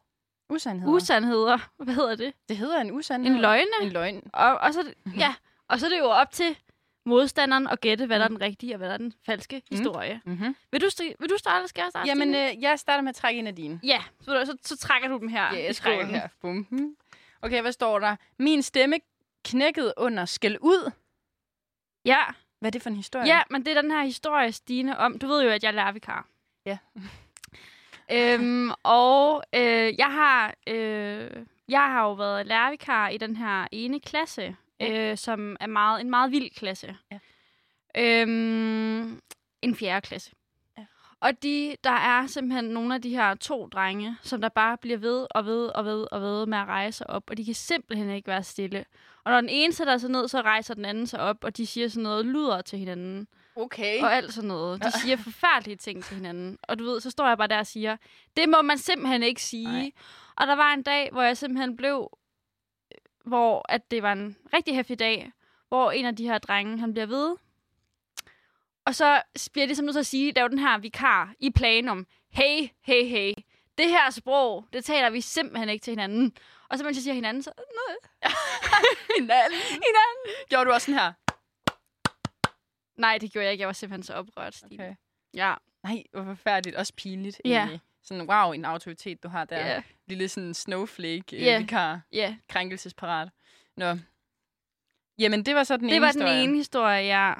Usandheder. usandheder. Hvad hedder det? det hedder en usandhed. En løgne. En løgn. Og, og, så, ja, og så er det jo op til modstanderen at gætte, hvad der er den rigtige og hvad der er den falske historie. Mm-hmm. Vil du, sti- vil du starte, eller skal jeg starte? Jamen, Stine? øh, jeg starter med at trække en af dine. øh, Ja, så, så, så trækker du dem her Ja, i jeg skriver skålen. her. Bum. Mhm. Okay, hvad står der? Min stemme knækkede under skæld ud. Ja. Hvad er det for en historie? ja, men det er den her historie, Stine, om... Du ved jo, at jeg er lærervikar. Ja. (laughs) øhm, og øh, jeg har... Øh, jeg har jo været lærervikar i den her ene klasse, Ja. øh, som er meget, en meget vild klasse. Ja. Øhm, en fjerde klasse. Ja. Og de, der er simpelthen nogle af de her to drenge, som der bare bliver ved og ved og ved og ved med at rejse sig op, og de kan simpelthen ikke være stille. Og når den ene sætter sig ned, så rejser den anden sig op, og de siger sådan noget luder til hinanden Okay. og alt sådan noget. De siger forfærdelige ting til hinanden. Og du ved, så står jeg bare der og siger, det må man simpelthen ikke sige. Nej. Nej. Og der var en dag, hvor jeg simpelthen blev, hvor at det var en rigtig hæftig dag, hvor en af de her drenge, han bliver ved. Og så bliver det som nødt til at sige, der er jo den her vikar i planum. Hey, hey, hey. Det her sprog, det taler vi simpelthen ikke til hinanden. Og så mens jeg siger hinanden, så... (laughs) (laughs) hinanden. hinanden. Gjorde du også sådan her? Nej, det gjorde jeg ikke. Jeg var simpelthen så oprørt, Stine. Okay. Okay. Ja, Nej, hvor forfærdeligt. Også pinligt. Ja. egentlig. Sådan, wow, en autoritet, du har der. ja, Lille sådan snowflake, Ja. yeah. vikar, ja. krænkelsesparat. Nå. Jamen, det var så den Det ene var historie. den ene historie, ja.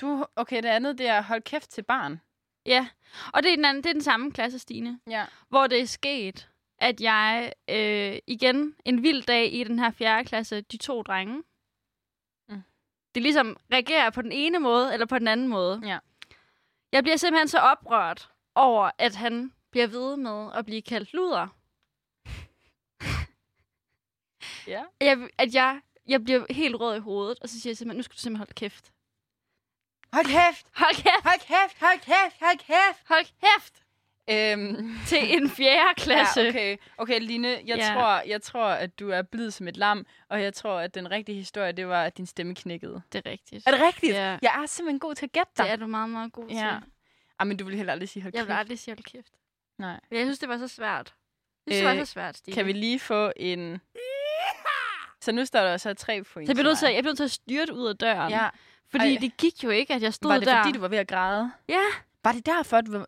Du, okay, det andet, det er hold kæft til barn. Ja, og det er den, anden, det er den samme klasse, Stine, Ja. hvor det er sket, at jeg øh, igen en vild dag i den her fjerde klasse, de to drenge, Mm. mm. det ligesom reagerer på den ene måde eller på den anden måde. Ja. Jeg bliver simpelthen så oprørt over, at han bliver ved med at blive kaldt luder. (laughs) Ja. Jeg, at jeg, jeg bliver helt rød i hovedet, og så siger jeg simpelthen, nu skal du simpelthen holde kæft. Hold kæft! Hold kæft! Hold kæft! Hold kæft! Hold kæft! Hold kæft! (laughs) Øhm, Til en fjerde klasse. Ja, okay. okay, Line, jeg, Ja. tror, jeg tror, at du er blid som et lam, og jeg tror, at den rigtige historie, det var, at din stemme knækkede. Det er rigtigt. Er det rigtigt? Ja. Jeg er simpelthen god til at gætte dig. Det er du meget, meget god Ja. til. Ej, Ah, men du vil heller aldrig sige, hold Jeg vil kæft. aldrig sige hold kæft. Nej. Men jeg synes, det var så svært. Jeg synes, det Øh, var så svært, Stine. Kan vi lige få en... Så nu står der så tre point så jeg blev nødt til, at- mig. jeg blev nødt til at styrte ud af døren. Ja. Fordi Ej. Ej. det gik jo ikke, at jeg stod Var det, der. fordi du var ved at græde? Ja, Var det derfor, at du var...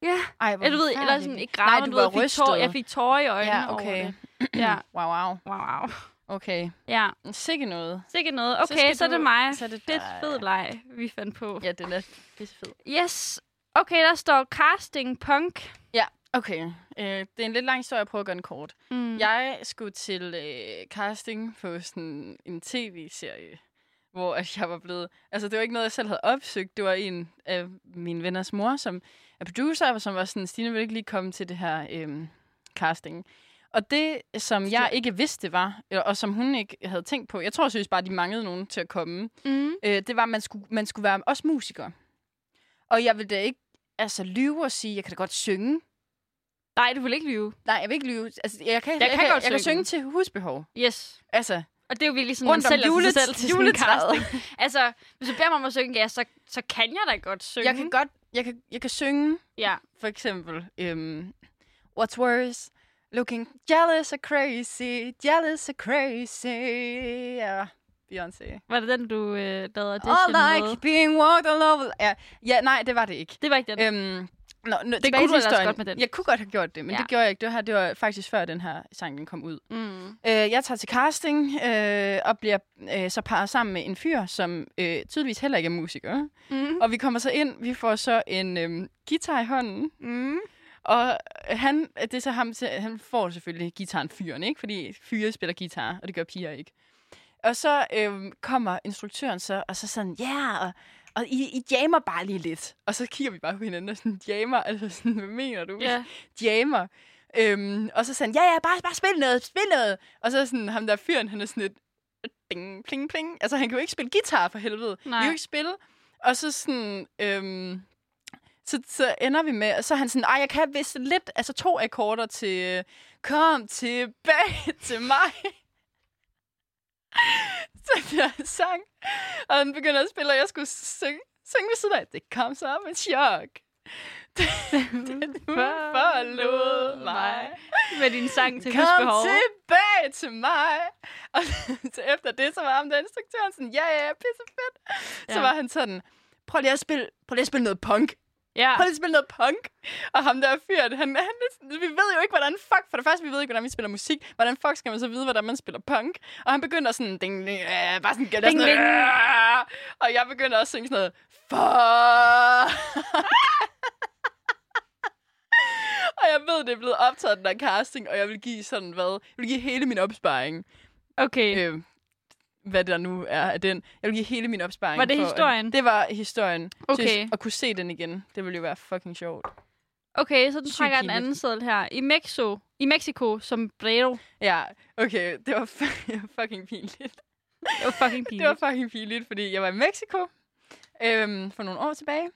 ja. Ej, hvor Eller du ved, eller forfærdeligt. sådan ikke græde, Nej, men du ved, var jeg fik rystet. tårer, jeg fik tårer i øjnene Ja, okay. over det. Ja, (clears throat) Wow, wow. (clears throat) wow, wow. Okay. Ja, Sikke noget. sikkert noget. Så Okay, skal så, så er det du- mig. så er det Fedt, dig. fed leg, vi fandt på. Ja, den er pissefed. Yes. Okay, der står casting punk. Ja, okay. Øh, det er en lidt lang historie, jeg prøver at gøre den kort. Mm. Jeg skulle til øh, casting på sådan en tv-serie, hvor at jeg var blevet... Altså, det var ikke noget, jeg selv havde opsøgt. Det var en af mine venners mor, som er producer, og som var sådan, Stine vil ikke lige komme til det her øh, casting. Og det, som jeg ikke vidste var, øh, og som hun ikke havde tænkt på, jeg tror synes bare, de manglede nogen til at komme, Mm. øh, det var, at man skulle, man skulle være også musiker. Og jeg ville da ikke altså, lyve og sige, jeg kan da godt synge. Nej, du vil ikke lyve. Nej, jeg vil ikke lyve. Altså, jeg kan, jeg, kan jeg, kan, godt jeg kan synge. synge til husbehov. Yes. Altså, Og det er jo virkelig sådan, Rundt man om sælger jule- sig selv til juletræet. sådan en casting. altså, hvis du beder mig om at synge, ja, så, så kan jeg da godt synge. (laughs) jeg kan godt, jeg kan, jeg kan synge, Ja. for eksempel, øhm, What's worse? Looking jealous or crazy, jealous or crazy. Yeah. Beyoncé. Var det den, du øh, lavede All audition med? like being walked all over. Ja, ja, nej, det var det ikke. Det var ikke den. Øhm, Nå, nå, kunne det du ellers godt med den. Jeg kunne godt have gjort det, men Ja. ja. det gjorde jeg ikke. Det her det var faktisk før den her sang den kom ud. Mm. Øh, jeg tager til casting øh, og bliver øh, så parret sammen med en fyr, som øh, tydeligvis heller ikke er musiker. Mm. Og vi kommer så ind, vi får så en øh, guitar i hånden, Mm. og han, det er så ham, til- han får selvfølgelig gitaren fyren, ikke? Fordi fyre spiller guitar, og det gør piger ikke. Og så øh, kommer instruktøren så, og så sådan, ja, yeah, og, og I, I jammer bare lige lidt. Og så kigger vi bare på hinanden og sådan, jammer, altså sådan, hvad mener du? Ja. jammer. Øhm, og så sagde han, ja, ja, bare, bare spil noget, spil noget. Og så sådan, ham der fyren, han er sådan lidt, ding, pling, pling. Altså, han kan jo ikke spille guitar for helvede. Nej. Vi kan jo ikke spille. Og så sådan, øhm, så, så ender vi med, og så er han sådan, ej, jeg kan vist lidt, altså to akkorder til, øh, kom tilbage (laughs) til mig. så bliver han sang, og han begynder at spille, og jeg skulle synge, synge ved siden af, det kom som et chok. Den forlod mig. Med din sang til Kom husbehov. tilbage til mig. Og (laughs) så efter det, så var ham der instruktøren sådan, ja, ja, ja, pisse fedt. Ja. Så Ja. var han sådan, prøv lige at spille, prøv lige at spille noget punk. Ja. Prøv lige at spille noget punk. Og ham der fyren, han, han, er sådan- vi ved jo ikke, hvordan fuck, for det første, vi ved ikke, hvordan vi spiller musik. Hvordan fuck skal man så vide, hvordan man spiller punk? Og han begynder sådan, ding, ding, øh, bare sådan, gør det Ding, sådan, ding. øh, og jeg begynder også at synge sådan noget, fuck. (laughs) Og jeg ved, det er blevet optaget den der casting, og jeg vil give sådan hvad? Jeg vil give hele min opsparing. Okay. Øh, hvad der nu er af den. Jeg vil give hele min opsparing. Var det for at- historien? det var historien. Okay. Så at kunne se den igen, det ville jo være fucking sjovt. Okay, så du Sygt trækker den pinligt. anden seddel her. I Mexico, i Mexico som Brero. Ja, okay. Det var fu- (laughs) fucking pinligt. Det var fucking Det var pinligt. fucking pinligt, fordi jeg var i Mexico øhm, for nogle år tilbage.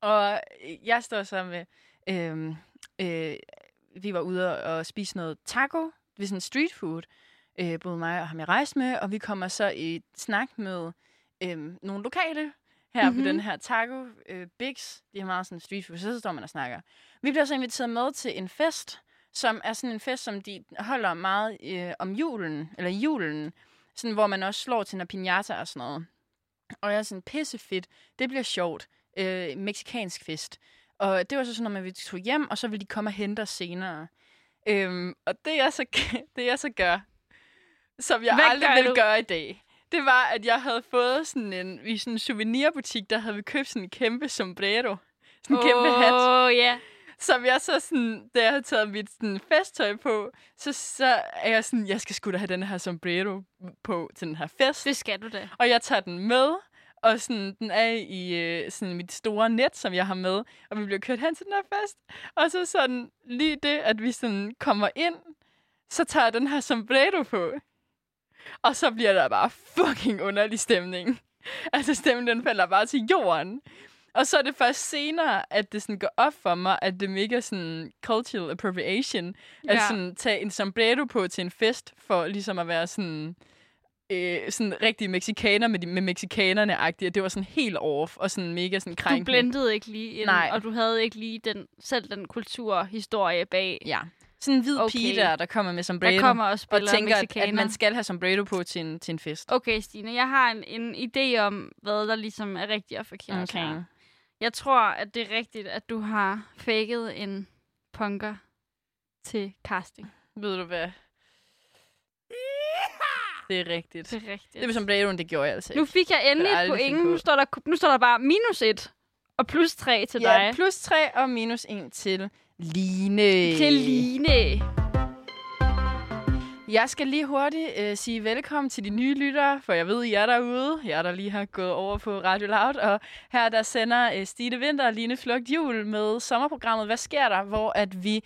Og jeg står så med... Øhm, øh, vi var ude og og spise noget taco ved sådan street food. Øh, både mig og ham, jeg rejste med. Og vi kommer så i snak med øhm, nogle lokale her mm-hmm. Mhm. på den her taco. Øh, Bix, de har meget sådan street food. Så, så står man og snakker. Vi bliver så inviteret med til en fest, som er sådan en fest, som de holder meget øh, om julen, eller i julen, sådan, hvor man også slår til en piñata og sådan noget. Og jeg er sådan, pissefedt, det bliver sjovt, øh, meksikansk fest. Og det var så sådan, noget med, at vi tog hjem, og så ville de komme og hente os senere. Øhm, og det jeg, så, (laughs) det jeg så gør, som jeg Hvad Hvad aldrig gør ville du? gøre i dag, det var, at jeg havde fået sådan en, i sådan en souvenirbutik, der havde vi købt sådan en kæmpe sombrero. Sådan en oh. kæmpe hat Åh, ja. som jeg så sådan, da jeg havde taget mit sådan, festtøj på, så, så er jeg sådan, jeg skal sgu da have den her sombrero på til den her fest. Det skal du da. Og jeg tager den med, og sådan, den er i øh, sådan, mit store net, som jeg har med, og vi bliver kørt hen til den her fest. Og så sådan, lige det, at vi sådan kommer ind, så tager jeg den her sombrero på. Og så bliver der bare fucking underlig stemning. (laughs) Altså stemmen, den falder bare til jorden. Og så er det først senere, at det sådan går op for mig, at det er mega sådan cultural appropriation. Ja. At Ja. sådan tage en sombrero på til en fest, for ligesom at være sådan, øh, sådan rigtig mexikaner med, de, med mexikanerne-agtigt. Og det var sådan helt off og sådan mega sådan Du krænkende. blendede ikke lige ind, Nej. og du havde ikke lige den, selv den kulturhistorie bag. Ja. Sådan en hvid Okay. okay. pige der, der kommer med sombrero. Der kommer og og spiller tænker, at, mexikaner. at man skal have sombrero på til en, til en fest. Okay, Stine, jeg har en, en idé om, hvad der ligesom er rigtigt og forkert. her. Jeg tror, at det er rigtigt, at du har faked en punker til casting. Ved du (laughs) hvad? Det er rigtigt. Det er rigtigt. Det med sombreroen, det gjorde jeg altså nu ikke. fik jeg endelig Det har jeg et aldrig point. fundet på. Nu står, der, nu står der bare minus et og plus tre til ja, dig. plus 3 og minus 1 til Line. Til Line. Jeg skal lige hurtigt øh, sige velkommen til de nye lyttere, for jeg ved, I er derude. Jeg er der lige har gået over på Radio Loud, og her der sender øh, Stine Vinter og Line Flugt Jul med sommerprogrammet Hvad sker der? Hvor at vi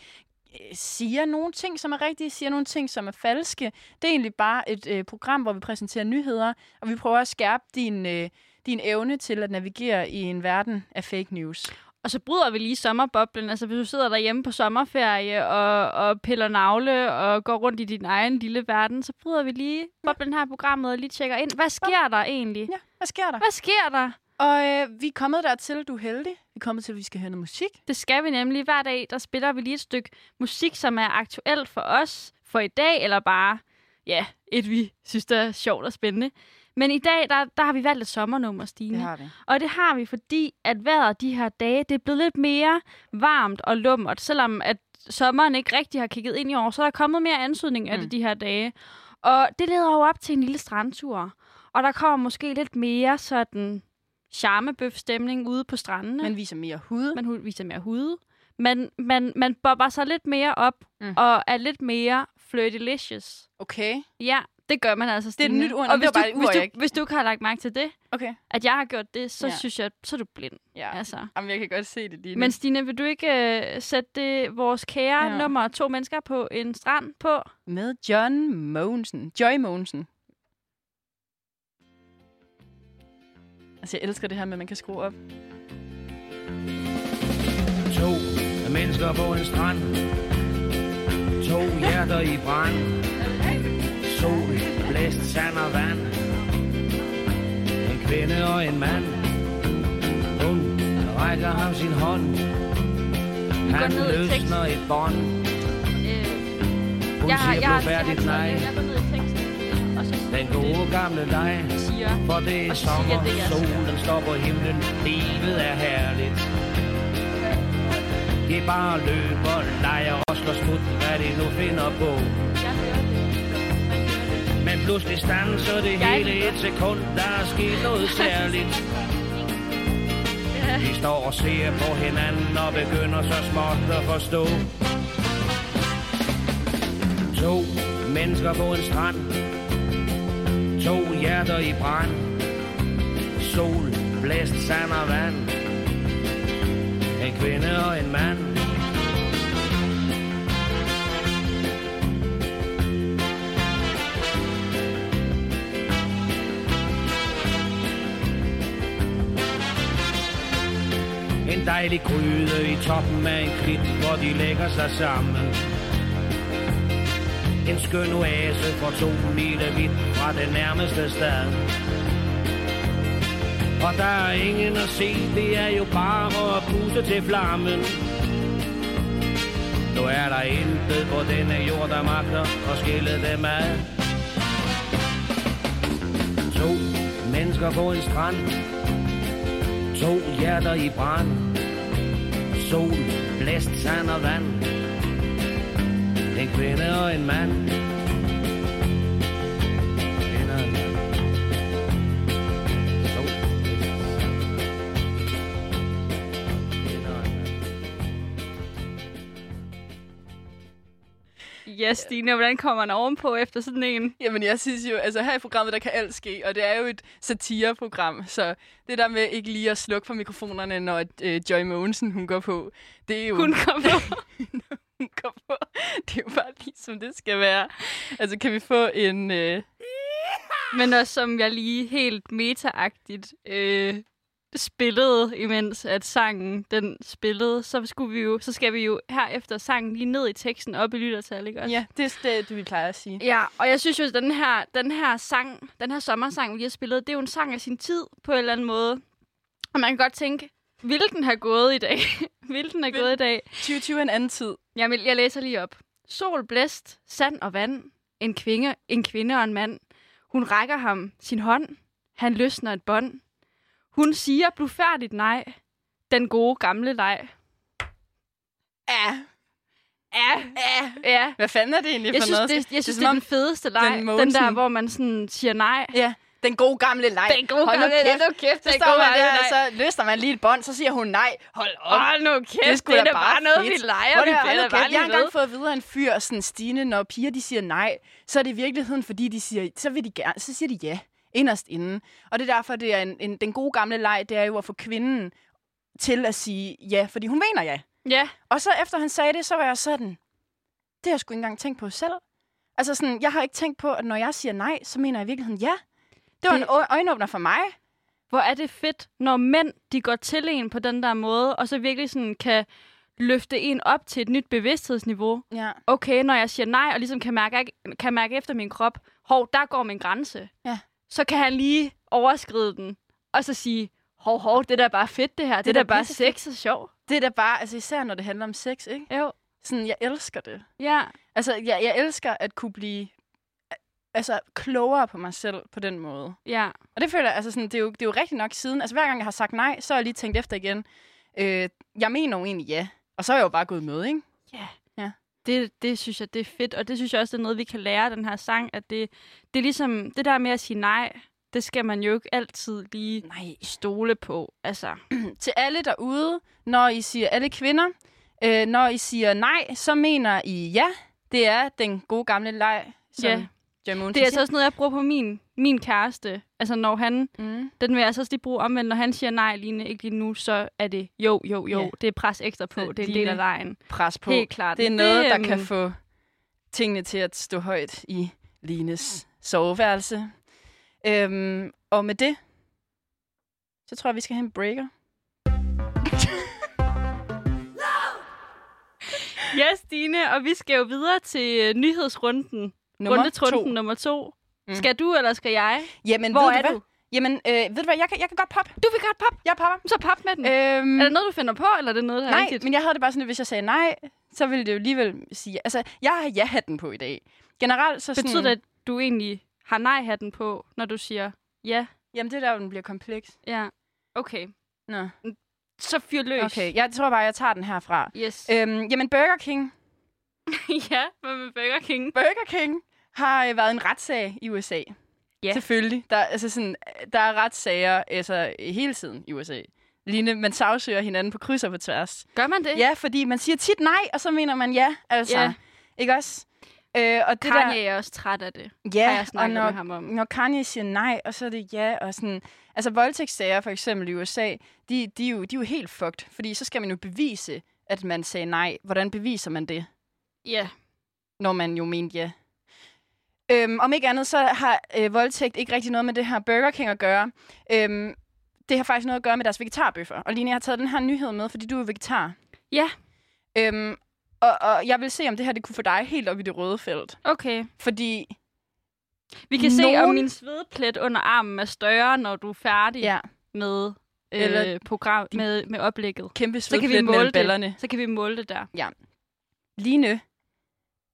øh, siger nogle ting, som er rigtige, siger nogle ting, som er falske. Det er egentlig bare et øh, program, hvor vi præsenterer nyheder, og vi prøver at skærpe din, øh, din evne til at navigere i en verden af fake news. Og så bryder vi lige sommerboblen. Altså, hvis du sidder derhjemme på sommerferie og, og piller nagle og går rundt i din egen lille verden, så bryder vi lige boblen her i programmet og lige tjekker ind. Hvad sker der egentlig? Ja, hvad sker der? Hvad sker der? Og øh, vi er kommet dertil, du er heldig. Vi er kommet til, at vi skal høre noget musik. Det skal vi nemlig. Hver dag, der spiller vi lige et stykke musik, som er aktuelt for os for i dag, eller bare, ja, et vi synes, der er sjovt og spændende. Men i dag, der, der har vi valgt et sommernummer, Stine. Det har vi. Og det har vi, fordi at vejret de her dage, det er blevet lidt mere varmt og lummert, selvom at sommeren ikke rigtig har kigget ind i år, så er der kommet mere ansøgning af Mm. det de her dage. Og det leder jo op til en lille strandtur. Og der kommer måske lidt mere sådan charmebøf-stemning ude på strandene. Man viser mere hud. man hu- viser mere hud. Man, man, man bobber sig lidt mere op Mm. og er lidt mere flirtilicious. Okay. Ja, det gør man altså, er et Stine. nyt ord, Og det hvis var du, bare et hvis, ord, jeg du, ikke- hvis du ikke har lagt mærke til det, Okay. at jeg har gjort det, så Ja. ja. synes jeg, så er du blind. Ja. Ja. Altså. Jamen, jeg kan godt se det lige nu. Men Stine, vil du ikke øh, sætte det, vores kære Ja. ja. nummer to mennesker på en strand på? Med John Mogensen. Joy Mogensen. Altså, jeg elsker det her med, at man kan skrue op. To mennesker på en strand. To hjerter i brand. Sol, blæst, sand og vand. En kvinde og en mand. Hun rækker ham sin hånd. Han ned i tekst. løsner et bånd. Øh, Hun jeg, har- siger jeg, har- jeg, blodfærdigt nej. har- jeg går ned i teksten, og så Den gode gamle dig. siger, For det er Og siger, sommer, det er solen står på himlen, livet er herligt. Det er bare løb og leger og slår skud, hvad de nu finder på. jeg hører det. Man hører det. Men pludselig standser det Jeg hele lytter. et sekund, der er sket noget særligt. De står og ser på hinanden og begynder så småt at forstå. To mennesker på en strand. To hjerter i brand. Sol, blæst, sand og vand. En kvinde og en mand. En dejlig gryde i toppen af en klit, hvor de lægger sig sammen. En skøn oase for to mile vidt fra det nærmeste stad. Og der er ingen at se, det er jo bare at puste til flammen. Nu er der intet på denne jord, der magter at skille dem ad. To mennesker på en strand, To hjerter i brand Sol, blæst, sand og vand En kvinde og en mand Kvinde og en mand. Sol, blæst, sand og vand. Kvinde og en mand. Ja, Stine, hvordan kommer man ovenpå efter sådan en? Jamen, jeg synes jo, altså her i programmet, der kan alt ske, og det er jo et satireprogram, så det der med ikke lige at slukke for mikrofonerne, når øh, Joy Mogensen, hun går på, det er jo... Hun kom på. (laughs) hun går på. Det er jo bare lige, som det skal være. Altså, kan vi få en... Øh... (laughs) Men også som jeg lige helt metaagtigt øh, spillede, imens at sangen den spillede, så, skulle vi jo, så skal vi jo her efter sangen lige ned i teksten op i lyttertal, ikke også? Ja, det er det, det, vi plejer at sige. Ja, og jeg synes jo, at den her, den her sang, den her sommersang, vi lige har spillet, det er jo en sang af sin tid på en eller anden måde. Og man kan godt tænke, vil den have gået i dag? (laughs) vil den have Vil- gået i dag? 2020 er en anden tid. Jamen, jeg læser lige op. Sol, blæst, sand og vand. En kvinde, en kvinde og en mand. Hun rækker ham sin hånd. Han løsner et bånd. Hun siger blufærdigt nej. Den gode gamle leg. Ja. Ja, ja. ja. Hvad fanden er det egentlig Jeg for synes, noget? det, jeg synes, det som er om- den fedeste leg. Den, den der, Mogensen- hvor man sådan siger nej. Ja, den gode gamle leg. Den gode Hold nu gamle leg. kæft. Hold nu kæft, Så den står gode man der, gamle og leg. så løsner man lige et bånd, så siger hun nej. Hold op. Åh, nu kæft, altså. det, sgu da er da bare bare noget, vi fedt. leger. Prøv Vi lige at høre, bliver da okay, bare jeg har lige ved. engang fået at vide af en fyr, sådan Stine, når piger de siger nej, så er det i virkeligheden, fordi de siger, så, vil de gerne, så siger de ja, inderst inden. Og det er derfor, det er en, en, den gode gamle leg, det er jo at få kvinden til at sige ja, fordi hun mener ja. Ja, Og så efter han sagde det, så var jeg sådan, det har jeg sgu ikke engang tænkt på selv. Altså sådan, jeg har ikke tænkt på, at når jeg siger nej, så mener jeg i virkeligheden ja. Det var Det- en ø- øjenåbner for mig. hvor er det fedt, når mænd de går til en på den der måde, og så virkelig sådan kan løfte en op til et nyt bevidsthedsniveau. Ja. Okay, når jeg siger nej, og ligesom kan mærke, kan mærke efter min krop, hov, der går min grænse. Ja. Så kan han lige overskride den, og så sige, hov, hov, det er da bare fedt det her, det, er det er da da bare pissefedt." sex og sjov. Det er da bare, altså især når det handler om sex, ikke? Jo. Sådan, jeg elsker det. Ja, Altså, jeg, jeg elsker at kunne blive altså, klogere på mig selv på den måde. Ja. Og det føler jeg, altså sådan, det er, jo, det er jo rigtigt nok siden. Altså hver gang jeg har sagt nej, så har jeg lige tænkt efter igen. Øh, jeg mener jo egentlig ja. Og så er jeg jo bare gået med, ikke? Det, det synes jeg, det er fedt, og det synes jeg også, det er noget, vi kan lære af den her sang, at det, det er ligesom, det der med at sige nej, det skal man jo ikke altid lige Nej. stole på. Altså, Til alle derude, når I siger alle kvinder, øh, når I siger nej, så mener I ja. Det er den gode gamle leg, som Ja. ja. Jamun det er altså også noget, jeg bruger på min, min kæreste. Altså, når han, Mm. den vil jeg altså også lige bruge omvendt, når han siger nej, Line, ikke lige nu, så er det jo, jo, jo, Ja. det er pres ekstra på, Så det er en Line- del af lejen. Pres på. Helt klart. Det er noget, Det, der øhm, kan få tingene til at stå højt i Lines soveværelse. Øhm, og med det, så tror jeg, vi skal have en breaker. Ja, Stine, og vi skal jo videre til øh, nyhedsrunden. Nummer Rundetrunden to. nummer to. Mm. Mm. Skal du, eller skal jeg? Jamen, Hvor ved er du? du? Hvad? Jamen, øh, ved du hvad, jeg kan, jeg kan godt poppe. Du vil godt pop. Jeg popper. Så pop med den. Øh, Øhm, er det noget, du finder på, eller er det noget, der er nej, rigtigt? men jeg havde det bare sådan, at hvis jeg sagde nej, så ville det jo alligevel sige... Altså, jeg har ja-hatten på i dag. Generelt så sådan... Betyder det, at du egentlig har nej-hatten på, når du siger ja? Jamen, det er der, hvor den bliver kompleks. Ja. Okay. Nå. Så fyr løs. Øh. Okay, jeg tror bare, jeg tager den herfra. Yes. Øhm, jamen, Burger King. (laughs) ja, hvad med Burger King? Burger King har øh, været en retssag i USA. Ja. Selvfølgelig. Der, altså sådan, der er retssager altså, hele tiden i USA. Line, man sagsøger hinanden på kryds og på tværs. Gør man det? Ja, fordi man siger tit nej, og så mener man ja. Altså, Ja. ja. Ikke også? Øh, og det Kanye er også træt af det, der, har jeg og snakket når, med ham om. når Kanye siger nej, og så er det ja, og sådan... Altså, voldtægtssager for eksempel i USA, de, de, er jo, de er jo helt fucked, fordi så skal man jo bevise, at man sagde nej. Hvordan beviser man det? Ja. når man jo mente ja. Øhm, om ikke andet, så har øh, voldtægt ikke rigtig noget med det her Burger King at gøre. Øhm, det har faktisk noget at gøre med deres vegetarbøffer. Og Line, jeg har taget den her nyhed med, fordi du er vegetar. Ja. Øhm, og, og jeg vil se, om det her det kunne få dig helt op i det røde felt. Okay. Fordi, Vi kan Nogen... se, om Nogen- min svedplet under armen er større, når du er færdig ja, med, øh, Eller program, med, med oplægget. kæmpe Så kan, vi svedplet måle mellem det. ballerne. så kan vi måle det der. Line,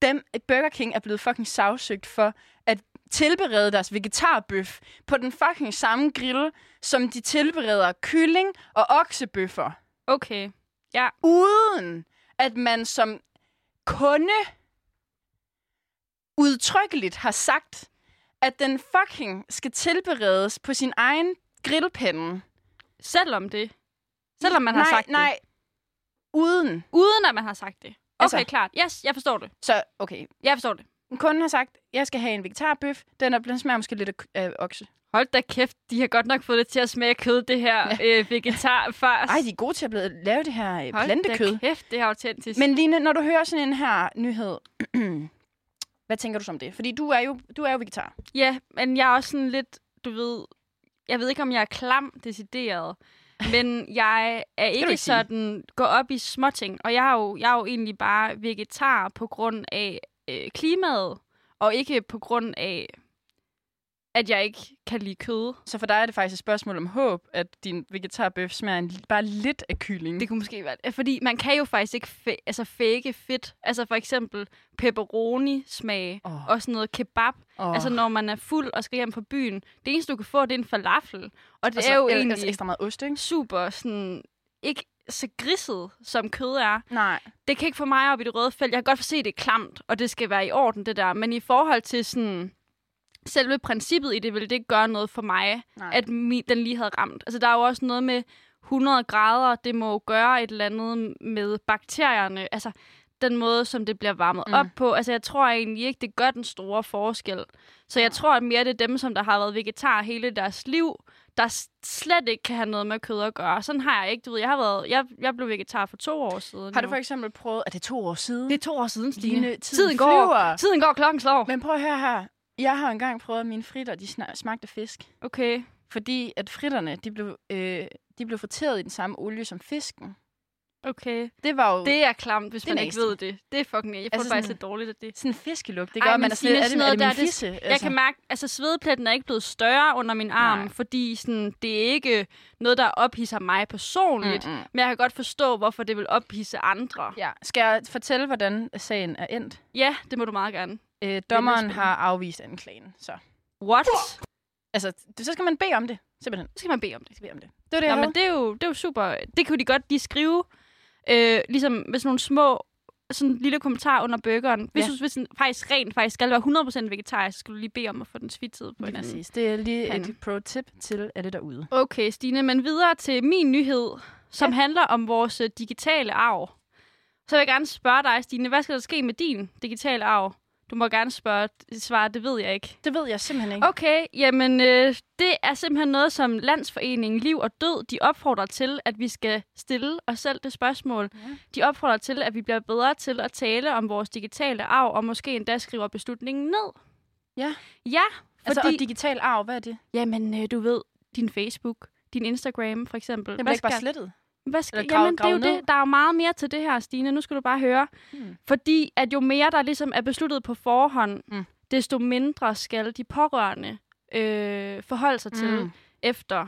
dem, Burger King er blevet fucking sagsøgt for at tilberede deres vegetarbøf på den fucking samme grill, som de tilbereder kylling og oksebøffer. Okay. uden at man som kunde udtrykkeligt har sagt, at den fucking skal tilberedes på sin egen grillpande. Selvom det. Selvom man har nej, sagt det. nej, uden. Uden at man har sagt det. Okay, Altså- klart. Yes, jeg forstår det. Så, okay. Jeg forstår det. Kunden har sagt, jeg skal have en vegetarbøf. Den, er, den smager måske lidt af k- af okse. Hold da kæft, de har godt nok fået det til at smage af kød, det her øh, (laughs) vegetarfars. Ej, de er gode til at blive- lave det her øh, Hold plantekød. da kæft, det er autentisk. Men... Men Line, når du hører sådan en her nyhed, (clears throat) hvad tænker du som det? Fordi du er jo, du er jo vegetar. Ja, men jeg er også sådan lidt, du ved... Jeg ved ikke, om jeg er klam decideret, men jeg er ikke, ikke sige. sådan gå op i småting. Og jeg er, jo, jeg er jo egentlig bare vegetar på grund af øh, klimaet, og ikke på grund af, at jeg ikke kan lide kød. Så for dig er det faktisk et spørgsmål om håb, at din vegetarbøf smager en, bare lidt af kylling. Det kunne måske være... Fordi man kan jo faktisk ikke fa- altså fake fedt. Altså for eksempel pepperoni-smag Åh. og sådan noget kebab. Åh. Altså når man er fuld og skal hjem på byen. Det eneste, du kan få, det er en falafel. Og det Og så er jo el- egentlig Altså ekstra meget ost, ikke? super sådan... Ikke så grisset, som kød er. Nej. Det kan ikke få mig op i det røde felt. Jeg kan godt se, det er klamt, og det skal være i orden, det der. Men i forhold til sådan... Selve princippet i det, vil det ikke gøre noget for mig Nej. at mi, den lige havde ramt. Altså, der er jo også noget med 100 grader, det må jo gøre et eller andet med bakterierne, altså den måde, som det bliver varmet mm. op på. Altså, jeg tror egentlig ikke, det gør den store forskel. Så jeg tror at mere, det er dem, som der har været vegetar hele deres liv, der s- slet ikke kan have noget med kød at gøre. Sådan har jeg ikke, du ved. Jeg, har været, jeg, jeg blev vegetar for to år siden. Har du jo. for eksempel prøvet... Er det to år siden? Det er to år siden, Stine. Line, tiden går, flyver. tiden går, klokken slår. Men prøv at høre her. Jeg har engang prøvet, at mine fritter de sna- smagte af fisk. Okay. Fordi at fritterne, de blev, øh, de blev forteret i den samme olie som fisken. Okay. Det var jo det, Det er klamt, hvis Det er man ikke nasty. ved det. Det er fucking... Jeg får Altså altså, faktisk sådan- lidt dårligt af det. sådan en fiskelugt. Det Ej, gør, at men man er Signe, sådan, er det, sådan er noget det min der, det- fisse? Jeg kan mærke, altså svedpletten er ikke blevet større under min arm, Nej. Nej. fordi sådan, det er ikke noget, der ophidser mig personligt. Mm-mm. Mm-mm. Men jeg kan godt forstå, hvorfor det vil ophidse andre. Ja, Ja. Skal jeg fortælle, hvordan sagen er endt? ja det må du meget gerne. Øh, dommeren spændende. har afvist anklagen, så... What? Altså, det, så skal man bede om det, simpelthen. Så skal man bede om det. Man skal bede om det. Det var det, Nå, jeg men det er, jo, det er jo super. Det kunne de godt lige skrive, øh, ligesom med sådan nogle små, sådan en lille kommentar under burgeren. Hvis Ja. ja. du hvis den faktisk rent faktisk skal være 100% vegetarisk, så skal du lige bede om at få den svitset på en Lige anden. præcis. Det er lige Pande. et pro-tip til alle derude. Okay, Stine, men videre til min nyhed, som ja. handler om vores øh, digitale arv. Så vil jeg gerne spørge dig, Stine, hvad skal der ske med din digitale arv? Du må gerne spørge, svare, det ved jeg ikke. Det ved jeg simpelthen ikke. Okay, jamen øh, det er simpelthen noget, som Landsforeningen Liv og Død, de opfordrer til, at vi skal stille os selv det spørgsmål. Ja. De opfordrer til, at vi bliver bedre til at tale om vores digitale arv, og måske endda skriver beslutningen ned. Ja. Ja, Altså, altså, og fordi... De... digital arv, hvad er det? Jamen, øh, du ved, din Facebook, din Instagram for eksempel. Den Hvad bliver ikke bare skal- Mm. slettet. hvad skal, Eller grave- jamen, det er jo grave ned? det. Der er jo meget mere til det her, Stine. Nu skal du bare høre. Hmm. Hmm. Fordi at jo mere der ligesom er besluttet på forhånd, Mm. hmm. desto mindre skal de pårørende øh, forholde sig til, Mm. efter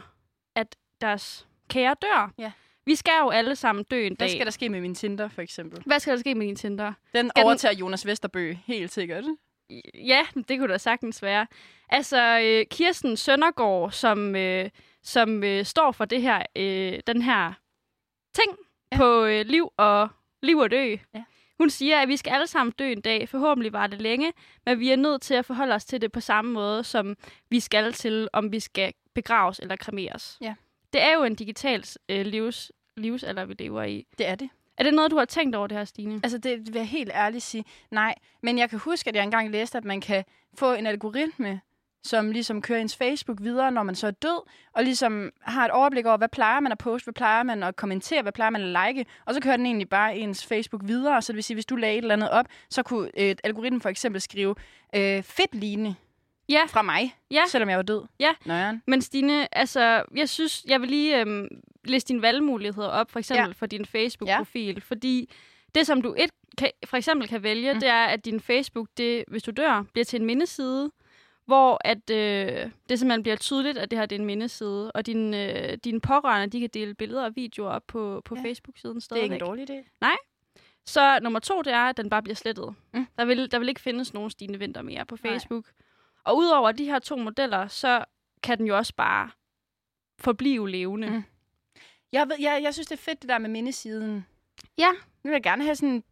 at deres kære dør. Ja. Vi skal jo alle sammen dø en Hvad dag. skal der ske med min Tinder, for eksempel? Hvad skal der ske med din Tinder? Den den- overtager Jonas Vesterbø helt sikkert. Ja, det kunne da sagtens være. Altså, øh, Kirsten Søndergaard, som, øh, som øh, står for det her, øh, den her ting Ja. ja. på øh, liv, og, liv og dø, Ja. ja. hun siger, at vi skal alle sammen dø en dag. Forhåbentlig var det længe, men vi er nødt til at forholde os til det på samme måde, som vi skal til, om vi skal begraves eller kremeres. Ja. Det er jo en digital øh, livs, livsalder, vi lever i. Det er det. Er det noget, du har tænkt over det her, Stine? Altså, det vil jeg helt ærligt sige. Nej, men jeg kan huske, at jeg engang læste, at man kan få en algoritme, som ligesom kører ens Facebook videre, når man så er død, og ligesom har et overblik over, hvad plejer man at poste, hvad plejer man at kommentere, hvad plejer man at like, og så kører den egentlig bare ens Facebook videre, så det vil sige, hvis du lagde et eller andet op, så kunne et algoritmen for eksempel skrive øh, fedt lignende Ja. fra mig, Ja. selvom jeg var død. Ja. Nøjeren. Men Stine, altså, jeg synes, jeg vil lige øhm, liste dine valgmuligheder op, for eksempel ja. for din Facebook-profil, ja. fordi det, som du et kan, for eksempel kan vælge, Mm. mm. det er, at din Facebook, det, hvis du dør, bliver til en mindeside, hvor at, øh, det simpelthen bliver tydeligt, at det her det er en mindeside, og din, øh, dine pårørende, de kan dele billeder og videoer op på, på Ja. ja. Facebook-siden Det er stadigvæk. ikke en dårlig idé. Så nummer to, det er, at den bare bliver slettet. Mm. Mm. Der, vil, der vil ikke findes nogen Stine Vinter mere på Facebook. Nej. Og udover de her to modeller, så kan den jo også bare forblive levende. Mm. Mm. Jeg, ved, jeg, jeg synes, det er fedt, det der med mindesiden. Ja. Nu vil jeg gerne have sådan...